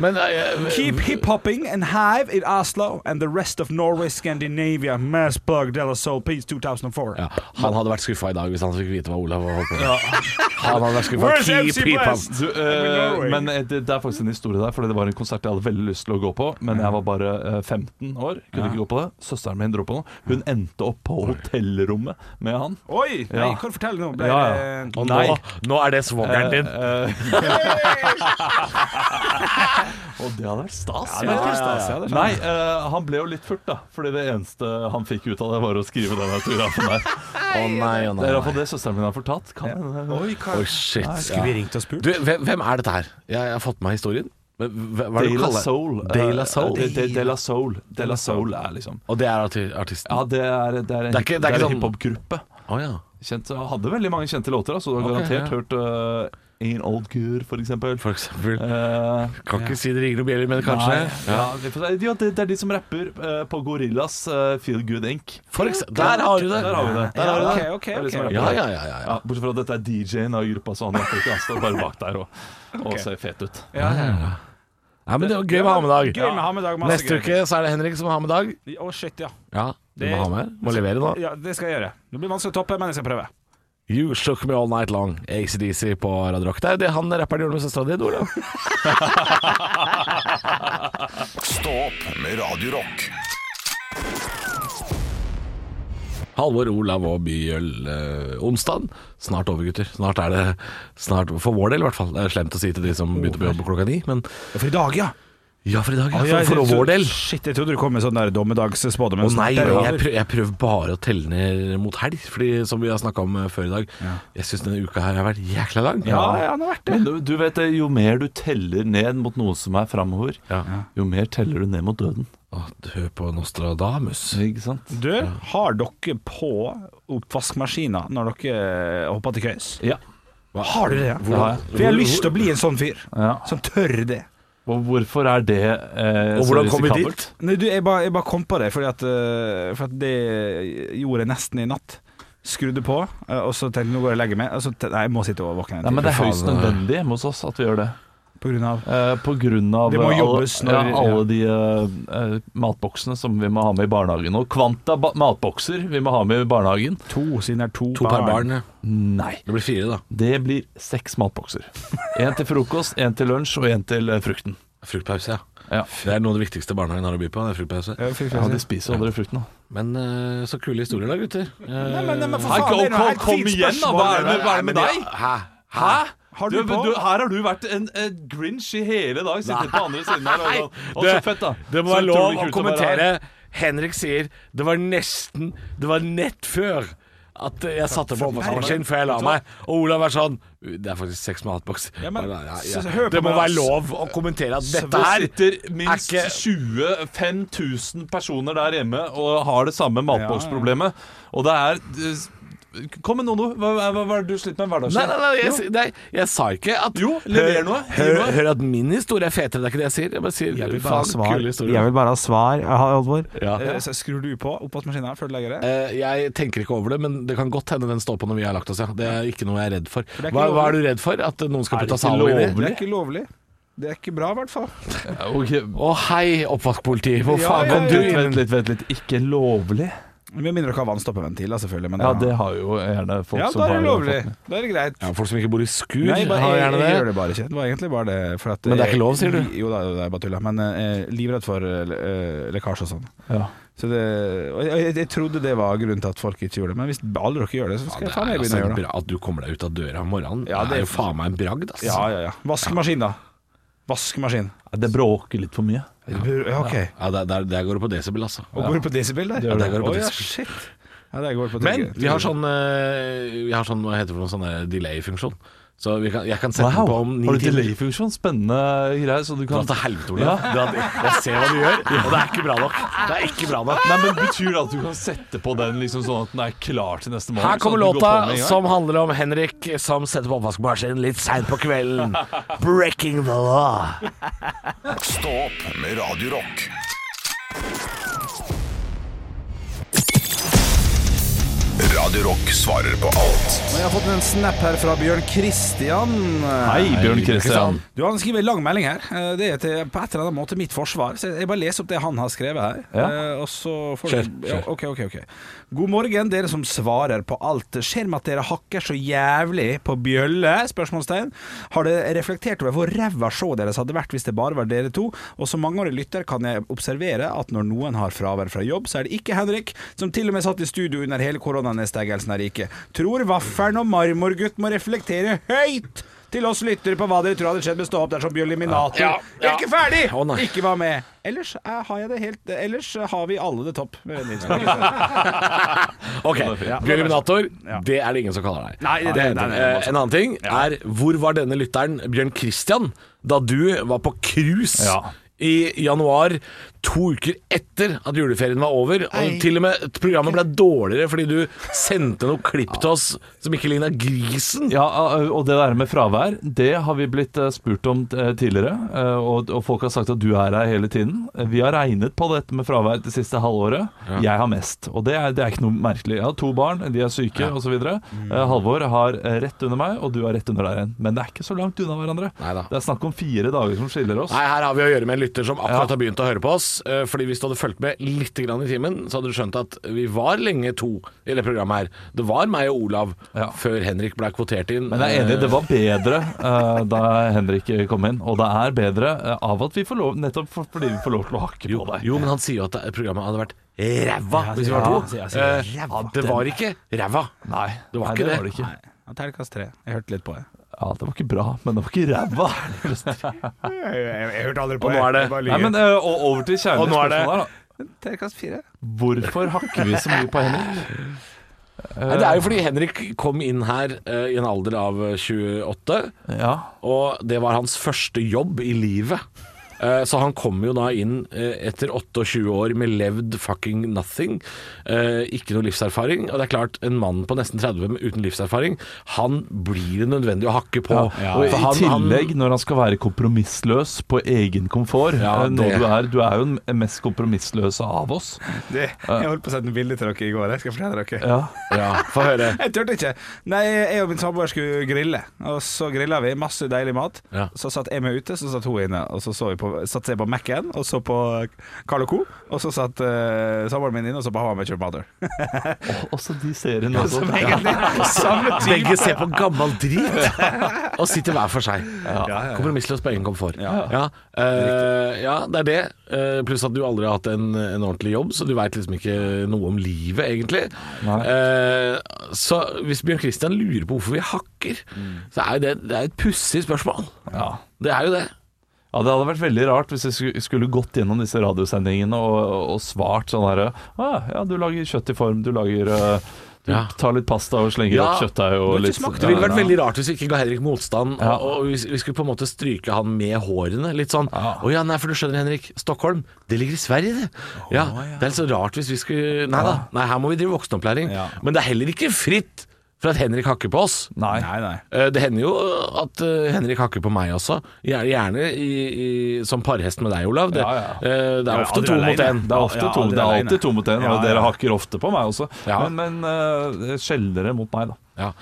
S4: Men eh, jeg-
S5: Keep hip-hopping and hive in Oslo and the rest of Norway, Scandinavia, Mass Plug, De La Soul, Peace 2004.
S4: ja, han hadde vært skuffa i dag hvis han fikk vite hva Olav holdt på med. Han hadde vært skuffa.
S5: Where's
S4: Keep
S5: MC
S4: hip hop.
S5: Blast?
S3: Du, eh,
S5: Norway.
S3: men eh, det, det er faktisk en historie der, Fordi det var en konsert jeg hadde veldig lyst til å gå på. Men jeg var bare eh, 15 år. Kunne ikke gå på det Søsteren min dro på noe. Hun endte opp på hotellrommet med han.
S5: Oi! Nei,
S3: Ja.
S5: kan du fortelle nå? Ble
S3: Ja,
S5: det
S3: ja.
S4: Og nå,
S3: Nei.
S4: nå er det svogeren din.
S3: Eh, eh. Og det hadde vært stas.
S5: Ja, det hadde vært stas, ja, det skjønner jeg.
S3: Nei, eh, han ble jo litt furt, da. Fordi det eneste han fikk ut av det, var å skrive den autografen der.
S4: Å
S3: Det
S4: nei, å nei.
S3: er
S4: nei.
S3: iallfall det søsteren min har fortalt. Kan hende.
S5: Oi, hva
S4: Oi, shit.
S5: Skulle vi ringt og spurt?
S4: Du, hvem, hvem er dette her? Jeg, jeg har fått med meg historien. Men hva, hva er det
S3: De
S4: du
S3: La
S4: kaller
S3: Soul. eh,
S4: De La Soul?
S3: De, de, de La Soul. De La Soul er liksom
S4: Og det er arti- artisten?
S3: Ja, det er, det er en,
S4: Det er ikke- det er
S3: det er
S4: ikke
S3: en
S4: sånn-
S3: hiphop-gruppe.
S4: Å, ja.
S3: Kjent, hadde veldig mange kjente låter, da, så du har
S4: Ok,
S3: garantert
S4: ja.
S3: hørt eh, Ain't Old Good, for eksempel.
S4: For eksempel.
S3: Eh,
S4: Kan ikke si det ringer noen bjeller, men kanskje.
S3: Nei, ja. vi får se. Ja, det, det er de som rapper eh, på Gorillas eh, Feel Good Inc.
S4: For ekse- der har du det!
S3: Der har vi det. Der har vi
S5: Ja,
S3: det.
S5: ok, ok,
S3: Det er de
S5: ok.
S3: som rapper
S4: Ja,
S3: der.
S4: ja, ja. ja, ja.
S3: Ja, bortsett fra at dette er DJ-en av gruppa, så han rapper ikke. Han står bare bak der og, og ser fet ut.
S5: Ja, ja, ja.
S4: Nei, men det var gøy med ha med dag.
S5: Gøy med ha med dag. masse
S4: Neste
S5: gøy.
S4: uke så er det Henrik som har med dag.
S5: Å, shit, ja.
S4: Ja, du
S5: Det-
S4: må ha med. Må levere nå.
S5: ja. Det skal jeg gjøre. Det blir vanskelig å toppe, men jeg skal prøve.
S4: You Shook Me All Night Long, ACDC på Radio Rock. Det er jo det han rapperen gjorde med søstera di, Olav.
S1: Stå opp med Radio Rock.
S4: Halvor, Olav og Byøl eh, onsdag. Snart over, gutter. Snart er det snart, For vår del, i hvert fall. Det er slemt å si til de som begynte på jobb klokka ni, men
S5: For i dag, ja.
S4: ja, for i dag. Ja, for, for vår del.
S5: Shit, jeg trodde du kom med sånn der dommedagsspådom.
S4: Å nei, jeg prøver, jeg prøver bare å telle ned mot helg, Fordi som vi har snakka om eh, før i dag. Jeg syns denne uka her har vært jækla lang.
S5: Ja, ja, han har vært det.
S3: Men du, du vet det, jo mer du teller ned mot noe som er framover,
S4: Ja.
S3: jo mer teller du ned mot døden.
S4: Å, Hør på Nostradamus.
S3: Ikke sant?
S5: Du, har dere på oppvaskmaskina når dere eh, hopper til køys?
S3: Ja.
S5: Har du det? Ja?
S3: har jeg.
S5: For jeg har lyst til å bli en sånn fyr
S3: Ja.
S5: som tør det.
S3: Og hvorfor er det eh,
S4: Og hvordan
S3: så
S4: kom vi
S3: risikabelt?
S4: dit?
S5: Nei, du, jeg bare, jeg bare kom på det, fordi at, eh, for at det gjorde jeg nesten i natt. Skrudde på, eh, og så tenkte jeg nå går jeg og legger meg. Og så tenkte jeg, nei, jeg må sitte og våkne en
S3: Nei, men
S5: time.
S3: Det er høyst
S4: Faen, det er-
S3: nødvendig hjemme hos oss at vi gjør det.
S5: På grunn av
S3: Eh, på grunn av
S5: Det må
S3: alle,
S5: jobbes når-
S3: ja, alle de eh, eh, matboksene som vi må ha med i barnehagen. Og kvanta ba matbokser vi må ha med i barnehagen.
S5: to, siden det er to,
S4: To per barn. ja.
S3: Nei.
S4: Det blir fire, da.
S3: Det blir seks matbokser. Én til frokost, én til lunsj og én til eh, frukten.
S4: Fruktpause, ja.
S3: Ja.
S4: Det er noe av det viktigste barnehagen har å by på. Det er fruktpause.
S5: Ja, fy, fy, fy.
S3: Ja, De spiser jo aldri frukten, da.
S4: Men eh, så kule historier da, gutter. Eh,
S5: Nei, men- nei, men for
S3: Nei,
S5: faen,
S3: kom,
S5: det er noe
S3: kom,
S5: helt
S3: kom
S5: fint
S3: igjen, da!
S5: spørsmål.
S3: Hva er det, hva er det med
S4: men
S3: deg?
S4: ja, Hæ?
S3: Hæ?
S5: Har du på?
S3: her har du vært en eh, grinch i hele dag. Sittet på andre siden her. og- Og så
S4: Det-
S3: fett, da.
S4: Det må
S3: Så
S4: være
S3: utrolig kult
S4: lov å
S3: være her.
S4: kommentere. Henrik sier det var nesten Det var nett før at jeg satte på oppvaskmaskinen før jeg la meg. Og Olav er sånn Det er faktisk seks matboks.
S5: Ja, men,
S4: Ja, ja,
S5: så- så
S4: ja.
S5: hør på
S4: Det må
S5: meg,
S4: være
S5: ass.
S4: lov å kommentere at dette
S3: Det
S4: her
S3: sitter minst
S4: er ikke-
S3: 25 000 personer der hjemme og har det samme matboksproblemet. Og det er eh, Kom med noe, nå. Hva, hva, hva er det du sliter med i
S4: Nei, nei,
S3: hverdagen?
S4: nei, jeg, si- nei, jeg sa ikke at
S3: Jo, lever
S4: Hør-
S3: noe, gi
S4: Hør,
S3: noe.
S4: hør at min historie er fetere, det er ikke det jeg sier. Jeg bare sier
S5: Jeg vil bare ha
S4: faen,
S5: svar.
S4: kule historier.
S6: Jeg vil bare ha svar, Halvor.
S4: Ja.
S5: Eh, så Skrur du på oppvaskmaskina før du legger det?
S4: Eh, Jeg tenker ikke over det, men det kan godt hende den står på når vi har lagt oss. Ja. Det er ikke noe jeg er redd for.
S5: det er ikke
S4: Hva,
S5: lovlig.
S4: hva er du redd for? At noen skal
S3: Er det
S4: putte
S3: ikke
S4: Zalo inn i?
S5: Det er ikke lovlig. Det er ikke bra, i hvert fall.
S3: Ja, ok.
S4: Å hei, oppvaskpoliti, hvor
S5: Ja,
S4: faen
S5: ja,
S4: kom
S5: ja,
S4: du
S5: ja.
S3: Vent
S4: inn?
S3: litt, vent litt. Ikke lovlig?
S5: Med mindre dere har vannstoppeventiler, selvfølgelig. Men
S3: Ja, det har jo gjerne folk
S5: ja,
S3: som
S5: da er det
S3: har
S5: lovlig. Da er det greit.
S4: Ja, folk som ikke bor i skur,
S5: Nei, bare,
S4: har
S5: jeg,
S4: gjerne
S5: jeg,
S4: det.
S5: gjør det bare ikke. Det var egentlig bare det. For at, eh,
S4: Men det er ikke lov, sier du?
S5: Jo da, det er bare tulla. Men jeg er livredd for eh, lekkasje og sånn.
S3: Ja.
S5: Så det, og jeg, jeg, jeg trodde det var grunnen til at folk ikke gjorde det, men hvis alle dere gjør det, så skal jeg faen meg
S4: altså,
S5: begynne å gjøre det.
S4: bra at du kommer deg ut av døra om morgenen.
S5: Ja,
S4: det er
S5: det-
S4: jo faen meg en bragd, ass.
S5: Ja, ja, ja. Vaskemaskin, da. Vaskemaskin.
S3: Ja, Det bråker litt for mye.
S5: Ja, OK.
S4: Ja, der, der, der går det på desibel, altså.
S5: Og går du på desibel der?
S4: Ja, der går det på
S5: Å, ja,
S4: desibel.
S5: shit. Ja, der går det på
S4: Men
S5: trygge-
S4: vi har sånn, eh, vi har sånn hva heter det for noe, sånn der delay-funksjon. Så vi kan, jeg kan sette den på om ni
S3: Har du
S4: timer.
S3: delay-funksjon? Spennende greier. Så du
S4: Dra
S3: kan
S4: til helvete, Olav. Dra- Jeg ser hva du gjør, og det er ikke bra nok. Det er ikke bra nok.
S3: Nei, men Betyr det at du kan sette på den liksom sånn at den er klar til neste morgen?
S4: Her kommer
S3: sånn at du går på
S4: låta
S3: med en gang?
S4: som handler om Henrik som setter på oppvaskmaskinen litt seint på kvelden. Breaking the law.
S1: Stå opp med Radio Rock. Radio Rock svarer på alt
S5: Men Jeg har fått en snap her fra Bjørn Kristian.
S3: Hei, Bjørn Kristian.
S5: Du har skriver en lang melding her. Eh, Det er til, på et eller annet måte mitt forsvar. Så jeg bare leser opp det han har skrevet her.
S3: Ja.
S5: Eh, Og så får
S4: Kjør,
S5: du- Ja, ok, ok, ok. God morgen, dere som svarer på alt. Skjer med at dere hakker så jævlig på bjølle? Spørsmålstegn. Har dere reflektert over hvor ræva showet deres hadde vært hvis det bare var dere to? Og som mangeårig lytter kan jeg observere at når noen har fravær fra jobb, så er det ikke Henrik, som til og med satt i studio under hele koronanedstengelsen her i riket. Tror vaffelen og marmorgutt må reflektere høyt! Til oss lyttere på hva dere tror hadde skjedd med Stå opp dersom Bjølliminator
S4: Ja, ja.
S5: Ikke ferdig!
S4: Å, nei.
S5: ikke var med. Ellers eh, har jeg det helt Ellers eh, har vi alle det topp. med Nils.
S4: Ok,
S5: Ja.
S4: Bjørn-eliminator,
S5: Ja.
S4: det er det ingen som kaller deg.
S5: Nei, det-
S4: er
S5: nei,
S4: en ting.
S5: nei, nei,
S4: Eh, En annen ting er hvor var denne lytteren, Bjørn Christian, da du var på cruise?
S3: Ja.
S4: I januar, to uker etter at juleferien var over. Og til og med programmet ble dårligere fordi du sendte noe klipp til oss som ikke ligna grisen.
S3: Ja, og det der med fravær, det har vi blitt eh, spurt om eh, tidligere. eh, Og, og folk har sagt at du er her hele tiden. Vi har regnet på dette med fravær det siste halvåret. Jeg har mest, og det er, det er ikke noe merkelig. Jeg har to barn, de er syke og osv. Mm. Halvor har eh, rett under meg, og du har rett under der igjen. Men det er ikke så langt unna hverandre.
S4: Neida.
S3: Det er snakk om fire dager som skiller oss.
S4: Nei, her har vi å gjøre med en lytter som
S3: Ja.
S4: akkurat har begynt å høre på oss. eh, Fordi hvis du hadde fulgt med litt grann i timen, så hadde du skjønt at vi var lenge to i det programmet her. Det var meg og Olav
S3: Ja.
S4: før Henrik ble kvotert inn.
S3: Men jeg er enig, det var bedre eh, da Henrik kom inn. Og det er bedre eh, av at vi får lov, nettopp for, fordi vi får lov til å hakke
S4: Jo,
S3: på deg.
S4: jo, men han sier jo at det- programmet hadde vært ræva hvis vi
S5: ja,
S4: var to.
S5: han sier- han
S4: Eh,
S5: sier ræva.
S4: det var ikke ræva.
S3: Nei,
S4: Det var
S3: nei,
S4: ikke det.
S3: Var det ikke.
S5: Nei, ja, Terningkast tre. Jeg hørte litt på det.
S3: Ja, det var ikke bra, men det var ikke ræva.
S5: Jeg, hørte aldri
S4: Og nå er det
S3: Nei, men eh, og over til
S4: Og
S3: kjernen i
S4: nå er det-
S3: spørsmålet her, da.
S5: Terningkast fire.
S3: Hvorfor hakker vi så mye på Henrik?
S4: Nei, Det er jo fordi Henrik kom inn her eh, i en alder av eh, 28,
S3: Ja.
S4: og det var hans første jobb i livet. Eh, Så han kom jo da inn eh, etter 28 år med levd fucking nothing. Eh, Ikke noe livserfaring. Og det er klart, en mann på nesten 30 med- uten livserfaring, han blir det nødvendig å hakke på.
S3: Og
S4: For
S3: I
S4: han- han-
S3: tillegg, når han skal være kompromissløs på egen komfort
S4: Ja,
S3: eh, når
S4: det-
S3: du, er, du er jo den mest kompromissløse av oss.
S5: Det, jeg holdt på å sende en bilde til dere i går. Jeg skal fortelle dere.
S3: Ja.
S4: Ja, få høre.
S5: Jeg turte ikke. Nei, jeg og min samboer skulle grille, og så grilla vi masse deilig mat.
S4: Ja.
S5: Så satt jeg meg ute, så satt hun inne, og så, så vi på, satt jeg på Mac-en, og så på Carl Co. Og så satt eh, samboeren min inne og så på How I Met Your Mother.
S3: Også de seriene også.
S5: Som egentlig er samme type.
S4: Begge ser på gammel drit og sitter hver for seg. Kompromissløs på egen komfort. Ja, eh, ja, det er det. Eh, Pluss at du aldri har hatt en, en ordentlig jobb, så du veit liksom ikke noe om livet, egentlig.
S3: Nei.
S4: Eh, så hvis Bjørn Christian lurer på hvorfor vi hakker, så er jo det, det er et pussig spørsmål.
S3: Ja.
S4: Det er jo det.
S3: ja, det hadde vært veldig rart hvis jeg sku- skulle gått gjennom disse radiosendingene og, og svart sånn herre ah, Ja, du lager kjøtt i form, du lager eh, Du
S4: Ja.
S3: tar litt pasta og slenger
S4: Ja,
S3: opp kjøttdeig og
S5: har ikke
S3: litt
S5: smakt
S4: Det ville vært
S3: Ja,
S4: veldig rart hvis vi ikke ga Henrik motstand,
S3: Ja.
S4: og, og vi, vi skulle på en måte stryke han med hårene. Litt sånn Å ja.
S3: Ja.
S4: nei, for du skjønner, Henrik. Stockholm, det ligger i Sverige, det. ja, Det er litt så rart hvis vi skulle Nei da, nei, her må vi drive voksenopplæring.
S5: Ja.
S4: Men det er heller ikke fritt for at Henrik hakker på oss.
S3: Nei.
S5: Nei, nei.
S4: Eh, Det hender jo at eh, Henrik hakker på meg også. Gjerne, gjerne i, i, som parhest med deg, Olav. Det,
S3: Ja, ja.
S4: eh, det er
S5: Ja,
S4: ofte
S5: aldri
S4: to mot
S5: alene.
S4: én.
S3: Det er, ofte
S5: Ja,
S3: to,
S5: aldri
S3: det er
S5: alene.
S3: alltid to mot én,
S5: Ja,
S3: og
S5: ja.
S3: dere hakker ofte på meg også.
S4: Ja.
S3: Men, men eh, sjeldnere mot meg, da.
S4: Ja.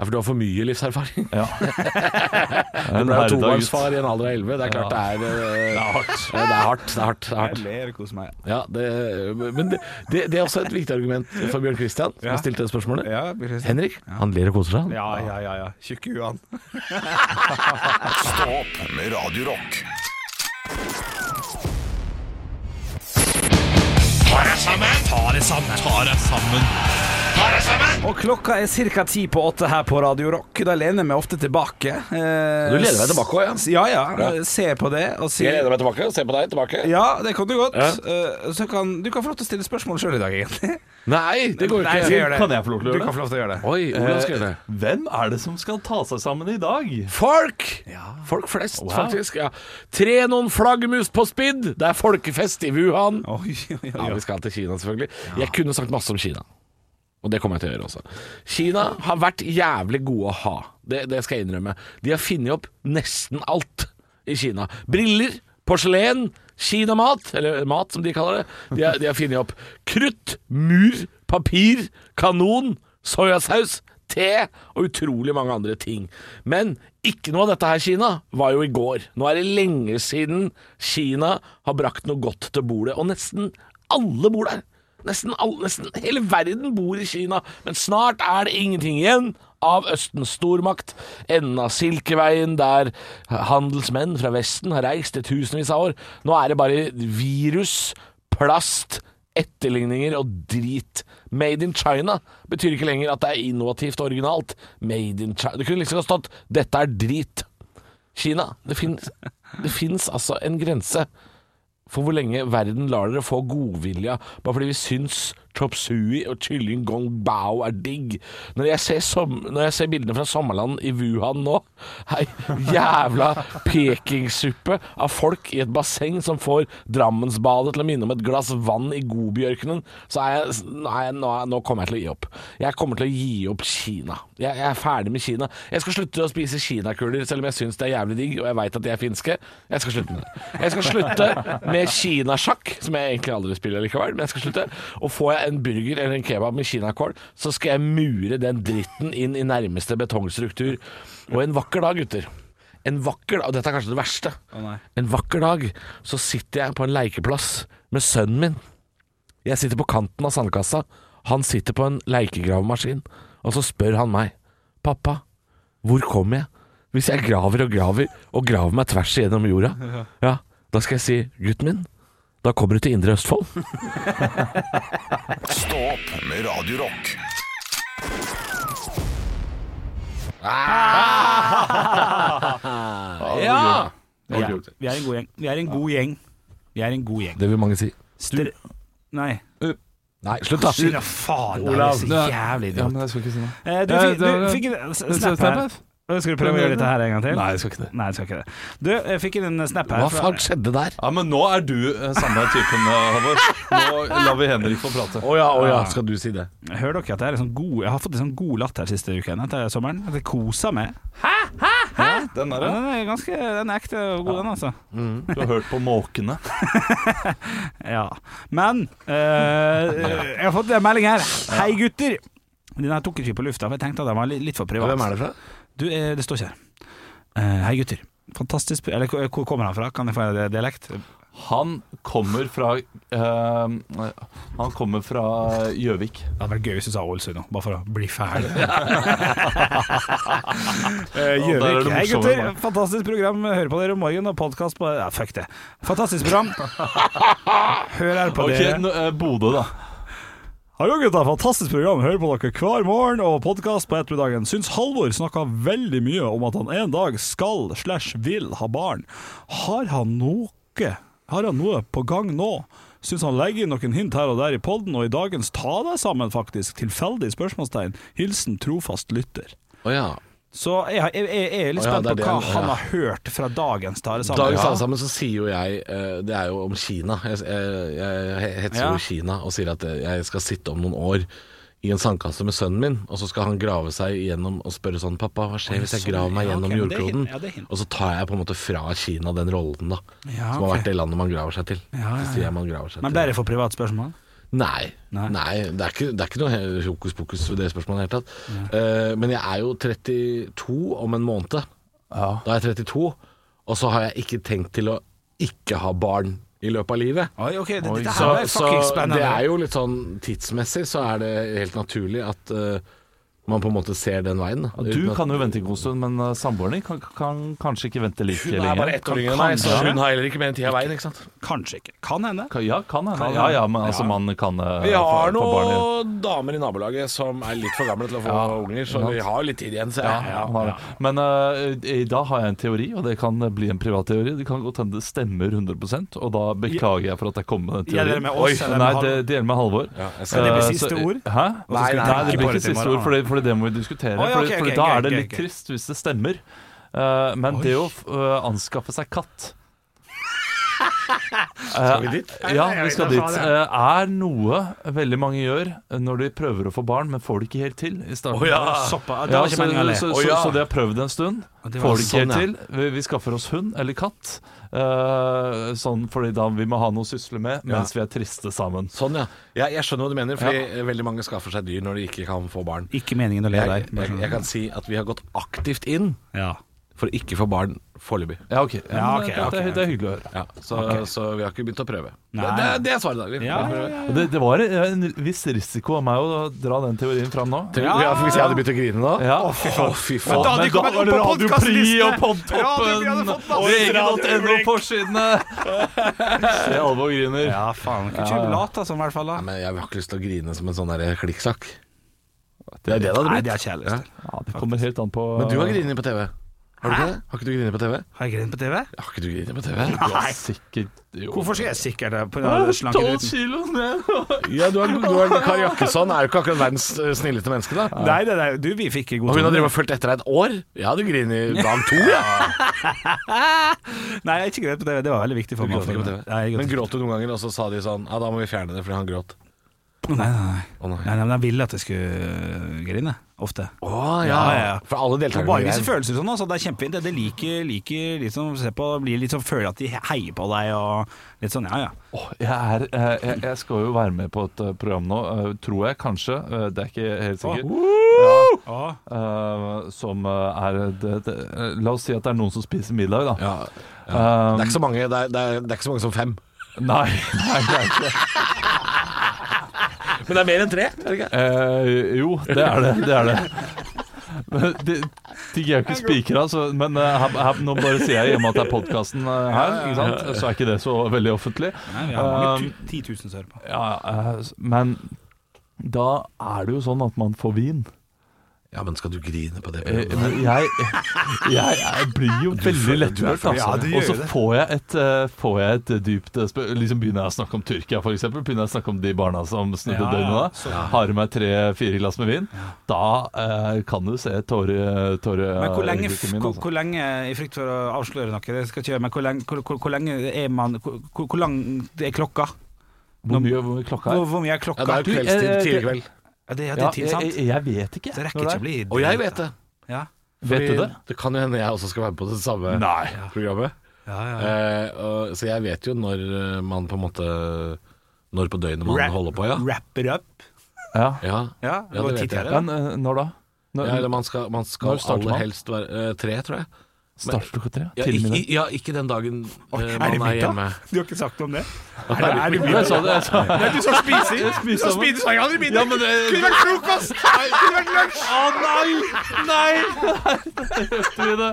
S4: Nei, for du har for mye livserfaring.
S3: Ja.
S4: Du
S3: En
S4: ble jo
S3: herda gutt.
S4: tobarnsfar i en alder av elleve. Det er klart det er eh,
S3: Det er hardt.
S4: Ja, Det er hardt. det er hardt, det er
S5: Jeg
S4: hardt.
S5: ler og koser meg.
S4: Ja, det, men det, det, det er også et viktig argument for Bjørn Christian, som
S5: Ja.
S4: har stilt det spørsmålet.
S5: Ja, blir det-
S4: Henrik, han ler og koser seg. han.
S5: Ja, ja, ja. ja. Tjukke huan.
S1: Stå opp med Radio Rock.
S5: Og klokka er ca. ti på åtte her på Radio Rock. Da lener jeg meg ofte tilbake. Eh,
S4: Du lener deg tilbake også,
S5: ja? Ja, ja. Se på det og si
S4: Jeg lener meg tilbake og ser på deg tilbake.
S5: Ja, det kan du godt.
S4: Ja.
S5: Eh, Så kan, du kan få lov til å stille spørsmål sjøl i dag, egentlig.
S4: Nei, det går jo
S5: Nei, jeg skal
S4: ikke.
S5: gjøre det. Eh,
S3: Kan jeg få lov til å
S5: Du
S3: gjøre det?
S5: kan få lov til å gjøre det.
S4: Oi, hvordan skal jeg gjøre det?
S3: Eh, Hvem er det som skal ta seg sammen i dag?
S4: Folk! Folk flest, faktisk. Ja. Tre noen flaggermus på spidd! Det er folkefest i Wuhan.
S5: Oi, oi,
S4: Ja,
S5: oi,
S4: vi skal til Kina, selvfølgelig. Jeg kunne sagt masse om Kina. Og det kommer jeg til å gjøre også. Kina har vært jævlig gode å ha. Det, det skal jeg innrømme. De har funnet opp nesten alt i Kina. Briller, porselen, kinamat, eller mat som de kaller det. De har, de har funnet opp krutt, mur, papir, kanon, soyasaus, te og utrolig mange andre ting. Men ikke noe av dette her, Kina, var jo i går. Nå er det lenge siden Kina har brakt noe godt til bordet, og nesten alle bor der. Nesten, all, nesten hele verden bor i Kina, men snart er det ingenting igjen av Østens stormakt. Enden av Silkeveien, der handelsmenn fra Vesten har reist i tusenvis av år. Nå er det bare virus, plast, etterligninger og drit. Made in China betyr ikke lenger at det er innovativt og originalt. Made in China. Det kunne liksom stått 'dette er drit'. Kina. Det finnes, det finnes altså en grense for hvor lenge verden lar dere få godvilja bare fordi vi syns chop sui og kylling gong bao er digg. Når jeg ser, som, når jeg ser bildene fra sommerland i Wuhan nå Ei jævla pekingsuppe av folk i et basseng som får Drammensbadet til å minne om et glass vann i godbjørkenen, så er jeg, nå er jeg, nå, er- nå kommer jeg til å gi opp. Jeg kommer til å gi opp Kina. Jeg, jeg er ferdig med Kina. Jeg skal slutte å spise kinakuler, selv om jeg syns det er jævlig digg, og jeg veit at de er finske. Jeg skal slutte med det. Jeg skal slutte med kinasjakk, som jeg egentlig aldri spiller likevel, men jeg skal slutte. Og får jeg en burger eller en kebab med kinakål, så skal jeg mure den dritten inn i nærmeste betongstruktur. Og en vakker dag, gutter en vakker dag, og dette er kanskje det verste
S5: nei.
S4: En vakker dag så sitter jeg på en leikeplass med sønnen min jeg sitter på kanten av sandkassa. Han sitter på en leikegravemaskin. Og så spør han meg. Pappa, hvor kom jeg? Hvis jeg graver og graver og graver meg tvers igjennom jorda, ja, da skal jeg si, gutten min, da kommer du til Indre Østfold.
S1: Stå opp med Radio Rock.
S4: Ja!
S3: Ja.
S6: Ja, vi er en god gjeng. Vi er en god gjeng. Vi er en god gjeng.
S4: Det vil mange si.
S6: Dere- Nei.
S4: Nei, slutt da.
S6: Fy faen, det er så jævlig
S3: Ja,
S6: dumt.
S3: men jeg skal ikke si noe.
S6: Eh, Du,
S3: Ja,
S6: fikk-
S3: det-
S6: du fikk en s- snap
S3: Snap
S6: her.
S3: her.
S5: Skal du prøve å gjøre dette her en gang til?
S3: Nei, jeg skal ikke det.
S5: Nei, jeg skal ikke det. Du, jeg fikk inn en snap her.
S4: Hva
S5: fra-
S4: faen skjedde der?
S3: Ja, men nå er du eh, samme typen, eh, Halvor. Nå lar vi Henrik få prate.
S4: Å ja, å ja, skal du si det?
S5: Hører dere at jeg, er litt sånn god, jeg har fått litt sånn god latter siste uken etter sommeren? At jeg koser meg.
S3: Den
S5: Ja,
S3: der, ja.
S5: den er ganske den er ekte og god, den, altså.
S3: Du har hørt på måkene.
S5: Ja. Men eh, jeg har fått en melding her. Hei, gutter. Den her tok jeg ikke på lufta, for jeg tenkte at den var litt, litt for privat.
S4: Hvem er det fra?
S5: Du, eh, det står ikke her. Eh, hei, gutter. Fantastisk Eller hvor hvor kommer han fra? Kan jeg få en dialekt?
S3: Han kommer fra eh, Han kommer fra Gjøvik.
S5: Det hadde vært gøy hvis du sa Ålesund nå, bare for å bli ferdig. Eh,
S3: Ja, der er
S5: Gjøvik.
S3: det
S5: Hei,
S3: morsomme,
S5: gutter.
S3: da.
S5: Fantastisk program. Hører på dere om morgenen og podkast på Ja, fuck det. Fantastisk program. Hør her på
S3: Ok,
S5: dere.
S3: nå, eh, Bodø, da.
S5: Hallo, gutta. Fantastisk program. Hører på dere hver morgen og podkast på ettermiddagen. Syns Halvor snakka veldig mye om at han en dag skal slash vil ha barn. Har han noe Har han noe på gang nå? Syns han legger inn noen hint her og der i podden, og i dagens Ta deg sammen, faktisk. Tilfeldig spørsmålstegn. Hilsen trofast lytter.
S4: Å ja.
S5: Så jeg, jeg, jeg, jeg er litt
S4: Å ja,
S5: spent
S4: det er
S5: på
S4: det
S5: hva
S4: han-
S5: han
S4: ja.
S5: har hørt fra dagens Tare Sammen.
S4: Dagens
S5: Ja.
S4: alle sammen så sier jo jeg eh, Det er jo om Kina. Jeg, jeg, jeg hetser
S5: Ja.
S4: jo Kina og sier at eh, jeg skal sitte om noen år i en sandkasse med sønnen min, og så skal han grave seg gjennom og spørre sånn 'Pappa, hva skjer hvis jeg
S5: sånn,
S4: graver meg
S5: ja,
S4: gjennom
S5: ok, det er hint,
S4: jordkloden?'
S5: ja, det er hint.
S4: Og så tar jeg på en måte fra Kina den rollen, da.
S5: Ja,
S4: Som har
S5: ok.
S4: vært det landet man graver seg til.
S5: Ja, ja,
S4: Så sier jeg man graver seg
S5: Men ble
S4: til
S5: det for privat spørsmål?
S4: Nei.
S5: Nei.
S4: Nei. det, er ikke, det er ikke noe he- hokus pokus ved det spørsmålet i det hele tatt. Eh, men jeg er jo 32 om en måned. Da er jeg 32, og så har jeg ikke tenkt til å ikke ha barn i løpet av livet.
S5: Oi, ok, det, dette
S4: Så,
S5: her er
S4: så
S5: fucking
S4: det
S5: spennende.
S4: er jo litt sånn tidsmessig så er det helt naturlig at eh, man på en måte ser den veien. da.
S3: Ja,
S4: Uten
S3: Du
S4: at-
S3: kan jo vente en god stund, men eh, samboeren din kan, kan kanskje ikke vente like lenge. Kan- kanskje.
S4: har heller ikke mer enn ti av veien, ikke sant.
S5: Kanskje ikke. Kan hende.
S3: Kan- Ja, kan hende.
S5: Kan
S3: Ja, ja,
S5: hende.
S3: men altså,
S5: Ja.
S3: man kan eh,
S4: Vi har
S3: få- få barn igjen.
S4: noen damer i nabolaget som er litt for gamle til å få unger, så vi har jo litt tid igjen, ser jeg.
S3: Ja, han har det. Men eh, i dag har jeg en teori, og det kan bli en privat teori. Det kan godt hende det stemmer 100 og da beklager jeg for at jeg kom med den teorien.
S5: Gjelder det med oss,
S3: Oi,
S5: eller med
S3: nei,
S5: Halvor?
S3: det, det gjelder med Halvor.
S4: jeg
S5: Skal det bli
S3: Eh,
S5: siste
S3: så-
S5: ord?
S3: Hæ? Nei,
S4: Nei,
S3: nei,
S4: nei,
S3: det
S5: nei.
S3: blir ikke siste ord, for det, for det må vi diskutere.
S5: Å, ja,
S3: For,
S5: ok,
S3: for
S5: ok,
S3: da
S5: ok,
S3: er det
S5: ok,
S3: litt
S5: ok.
S3: trist hvis det stemmer. Eh, men det å eh, anskaffe seg katt
S4: Skal vi dit?
S3: ja, vi skal dit. Eh, Er noe veldig mange gjør eh, når de prøver å få barn, men får det ikke helt til i starten.
S5: Såpass. Det
S3: Ja,
S5: var
S3: så,
S5: ikke meningen å le.
S3: så, så,
S4: Å, ja.
S3: så de har prøvd en stund,
S5: Og det var
S3: får det ikke helt
S4: sånn,
S3: til. Vi, vi skaffer oss hund eller katt, eh, sånn fordi da vi må ha noe å sysle med mens vi er triste sammen.
S4: Sånn, ja. Jeg, jeg skjønner hva du mener, fordi veldig mange skaffer seg dyr når de ikke kan få barn.
S5: Ikke meningen å le
S4: Jeg,
S5: der. sånn.
S4: jeg, jeg kan si at vi har gått aktivt inn
S5: Ja.
S4: for å ikke få barn foreløpig.
S3: Ja, ok. Ja,
S5: Ja,
S3: men eh,
S5: ok,
S3: det,
S5: ok,
S3: det, er- det er hyggelig å høre.
S4: Ja, så, så vi har ikke begynt å prøve. Det,
S5: Nei.
S4: det, det er svaret, da. Vi-
S5: Ja,
S4: vi
S5: ja,
S4: prøver.
S5: ja.
S3: Og Det, det var en viss risiko av meg å dra den teorien fram nå.
S4: Tenk- ja, for hvis jeg hadde begynt å grine nå
S3: Ja.
S4: Å, fy faen.
S3: Men
S4: Men da-
S3: da var det Radio Pri og Podtoppen og VG.no på sidene! Se alvor griner.
S5: ja, faen. Kan ikke du late som, i hvert fall? da?
S4: Nei, men jeg har ikke lyst til å grine som en sånn der klikksak. Det er det det hadde
S5: Nei,
S4: blitt.
S5: det er kjedelig.
S3: Ja, det kommer helt an på
S4: Men du har grinet på TV. Har du ikke det? Har ikke du grinet på TV?
S5: Har jeg grint på TV?
S4: Har ikke du grinet på TV?
S3: Ja, sikkert jo.
S5: Hvorfor skal jeg sikkert det på den slanke
S3: 12
S5: ruten?
S3: kilo ned!
S4: Ja, du har, du har Kari Jakkesson er jo ikke akkurat verdens eh, snilleste menneske, da.
S5: Nei, nei, nei, du, vi fikk god
S4: Og hun har
S5: tone.
S4: drevet og fulgt etter deg et år? Jeg hadde grinet dag to, ja.
S5: Nei, jeg er ikke greit på TV. Det var veldig viktig for meg. å få det. Nei, jeg gråt
S4: Men gråt du noen ganger, og så sa de sånn Ja, da må vi fjerne det fordi han gråt.
S5: Nei, nei, nei.
S4: Å nei.
S5: nei, nei men jeg ville at jeg skulle eh, grine. Ofte.
S4: Å
S5: Ja, ja, ja.
S4: For alle
S5: Det er
S4: deltakerne
S5: bare visse
S4: der.
S5: følelser og sånn, altså. Det er kjempefint. Det- Det liker, liker liksom, se på, blir litt sånn føler at de heier på deg og litt sånn, ja ja.
S3: Åh, jeg, er, eh, jeg, jeg skal jo være med på et eh, program nå, eh, tror jeg kanskje. eh, Det er ikke helt sikkert.
S5: Åh.
S3: eh, som eh, er det, det, eh, La oss si at det er noen som spiser middag, da.
S4: Ja.
S3: Eh,
S4: Det er ikke så mange, det er, det, er, det er ikke så mange som fem.
S3: nei, nei, det er ikke det.
S4: Men det er mer enn tre? Er det ikke?
S3: Eh, jo, det er det. Det er det. Men det, ting er jo ikke spikra, så- men eh, her, her, nå bare sier jeg hjemme at det er podkasten her, ikke sant? så er ikke det så veldig offentlig.
S5: Nei, vi har mange
S3: Um,
S5: tu- 10 000 som hører på.
S3: Ja, eh, s- men da er det jo sånn at man får vin
S4: Ja, men skal du grine på det?
S3: Eh, men jeg, jeg, jeg blir jo veldig
S4: føler- du er
S3: lettrørt, altså.
S4: følsom. Ja, du
S3: og så får jeg et, eh, får jeg et dypt eh, spør- liksom Begynner jeg å snakke om Tyrkia, f.eks. Begynner jeg å snakke om de barna som snudde
S6: Ja, ja,
S3: døgnet da. Har i meg tre-fire glass med vin. Da eh, kan du se tåre... tåre
S5: Men hvor lenge,
S3: gutten min,
S5: hvor,
S3: altså.
S5: hvor lenge i frykt for å avsløre noe, det skal jeg ikke gjøre, men hvor lenge, hvor, hvor, hvor lenge er man Hvor, hvor hvor lang er klokka?
S3: Hvor mye hvor mye klokka
S5: Hvor,
S3: er?
S5: hvor mye er
S4: Ja,
S5: klokka?
S4: det er jo
S3: Du,
S4: kveldstid,
S3: eh,
S4: tidlig kveld.
S5: Ja, det, ja, det
S3: Ja,
S5: er tid,
S3: jeg,
S5: sant?
S3: jeg, jeg vet ikke.
S5: Det rekker
S3: Når
S5: ikke
S3: det er.
S5: å bli
S4: Og jeg vet det.
S5: Ja.
S3: Vet du
S4: Fordi
S3: det?
S4: Det kan jo hende jeg også skal være med på det samme programmet.
S5: Ja, ja,
S4: Eh, og, så jeg vet jo når eh, man på en måte Når på døgnet man
S5: Rap-
S4: holder på, ja.
S5: Wrap it up.
S3: Ja.
S4: Ja,
S5: Ja, det
S4: ja
S5: var
S4: det
S5: tid
S4: vet
S5: til
S4: jeg.
S5: det.
S3: Men eh, når da? Når,
S4: Ja, eller man skal, man skal
S3: Når starter
S4: aller
S3: man?
S4: helst være eh, tre, tror jeg.
S3: starter klokka tre?
S4: Ja,
S3: Til
S4: ikke,
S3: middag?
S4: ja, ikke den dagen eh,
S5: Er det
S4: man er
S5: middag?
S4: hjemme.
S5: Du har ikke sagt noe om det?
S3: Er det middag? Jeg sa det. Jeg sa det.
S5: Du sa spising! Du sa
S3: sammen.
S5: spising, aldri middag!
S3: Ja, men det
S5: Kunne vært frokost! Kunne vært lunsj!
S3: Å nei! Nei! Hørte vi det?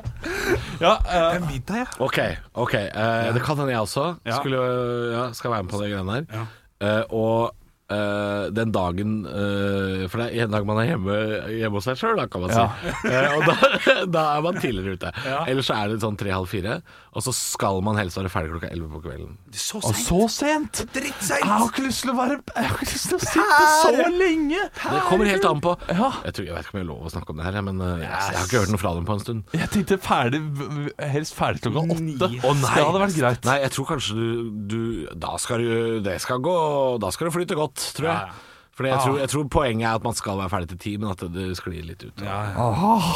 S3: Ja, eh,
S5: Middag, ja.
S4: Ok, ok eh, det kan hende jeg også
S5: Ja.
S4: Skulle, eh, ja, skal være med på det greiene der
S5: Ja.
S4: Eh, Og eh, den dagen eh, For det er en dag man er hjemme, hjemme hos seg selv Da kan man si Eh, Og da, da er man tidligere ute Ellers så er det sånn 3-4 Og så skal man helst være ferdig klokka 11 på kvelden
S5: Så
S3: og
S5: seint.
S3: så sent! Jeg
S5: Drittseint.
S3: har ikke lyst til å være Jeg har ikke lyst til å sitte så lenge!
S4: Det kommer helt an på
S3: Ja.
S4: jeg, tror, jeg vet ikke om jeg har lov å snakke om det her Men eh, jeg, jeg har ikke hørt noe fra dem på en stund
S3: Jeg tenkte ferdig helst ferdig klokka åtte.
S5: Ni.
S3: Det hadde vært greit.
S4: Nei, jeg tror kanskje du, du Da skal du Det skal gå Da skal det flyte godt, tror jeg. Fordi jeg,
S5: Ah.
S4: tror, jeg tror poenget er at man skal være ferdig til ti, men at det, det sklir litt ut.
S3: Ah.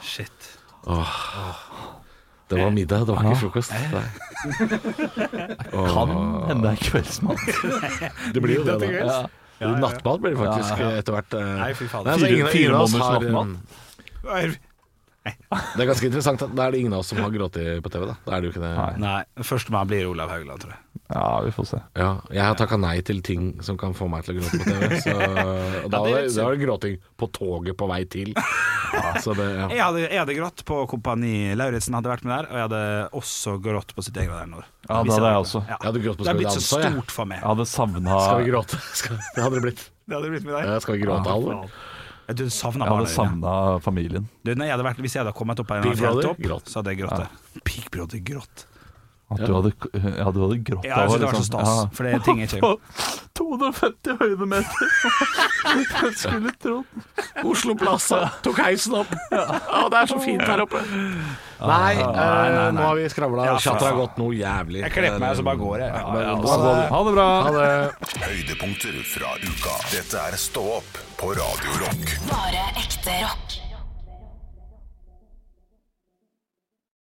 S5: Shit.
S4: Det var middag, det var ikke frokost. Nei.
S3: Kan hende det er kveldsmat.
S4: Det blir jo det, da.
S3: Ja.
S4: Nattmat blir det faktisk
S3: Ja,
S4: etter hvert. eh.
S5: Nei, fy faen.
S4: Nei, altså, ingen,
S3: Fire-
S4: ingen av oss
S3: fire
S4: har,
S3: måneders nattmat.
S4: eh, det er ganske interessant at da er det ingen av oss som har grått i- på TV, da. Da er det jo ikke det.
S3: Nei.
S5: Nei, førstemann blir Olav Haugland, tror jeg.
S3: Ja, vi får se.
S4: Ja, jeg har takka nei til ting som kan få meg til å gråte på TV. Så, og da
S5: Ja, det er
S4: var det,
S5: litt
S4: da var det gråting på toget på vei til. Ja, så det, ja.
S5: Jeg hadde, jeg hadde grått på Kompani Lauritzen, hadde vært med der. Og jeg hadde også grått på sitt eget der nord.
S3: Ja, det hadde jeg også.
S5: Ja.
S4: Jeg hadde grått på
S5: Det har
S4: Skal vi
S5: blitt så
S4: danse, jeg.
S5: stort for meg.
S3: Jeg hadde savna
S4: Skal vi
S3: Jeg
S4: gråte? Skal, det hadde det blitt.
S5: Det hadde blitt med deg.
S4: Ja, skal vi gråte, Halvor?
S5: Ja, Du savna barna
S3: hadde
S5: dine.
S3: savna familien.
S5: Du, nei, jeg hadde vært, hvis jeg hadde kommet opp på en
S4: Big Brother,
S5: fjelltopp,
S4: grått.
S5: så hadde jeg grått der. Big Brother grått.
S3: At du hadde, ja, du hadde grått
S5: Ja, jeg
S3: av
S5: synes det sånn- var så
S3: liksom.
S5: stas,
S3: Ja.
S5: for det er ting jeg ikke
S3: På 250 høydemeter! Jeg skulle trodd
S4: Oslo Plaza tok heisen opp. Å, det er så fint her oppe. Nei, eh, nå har vi skravla.
S5: Ja,
S4: Chatter har
S5: faen.
S4: gått noe jævlig. Eh,
S5: Jeg kler på meg, og så bare går jeg. Ja, altså, ja,
S4: Ha det.
S3: Ha det bra!
S4: Ha det.
S1: Høydepunkter fra uka. Dette er Stå opp på Radio Rock.
S2: Bare ekte rock.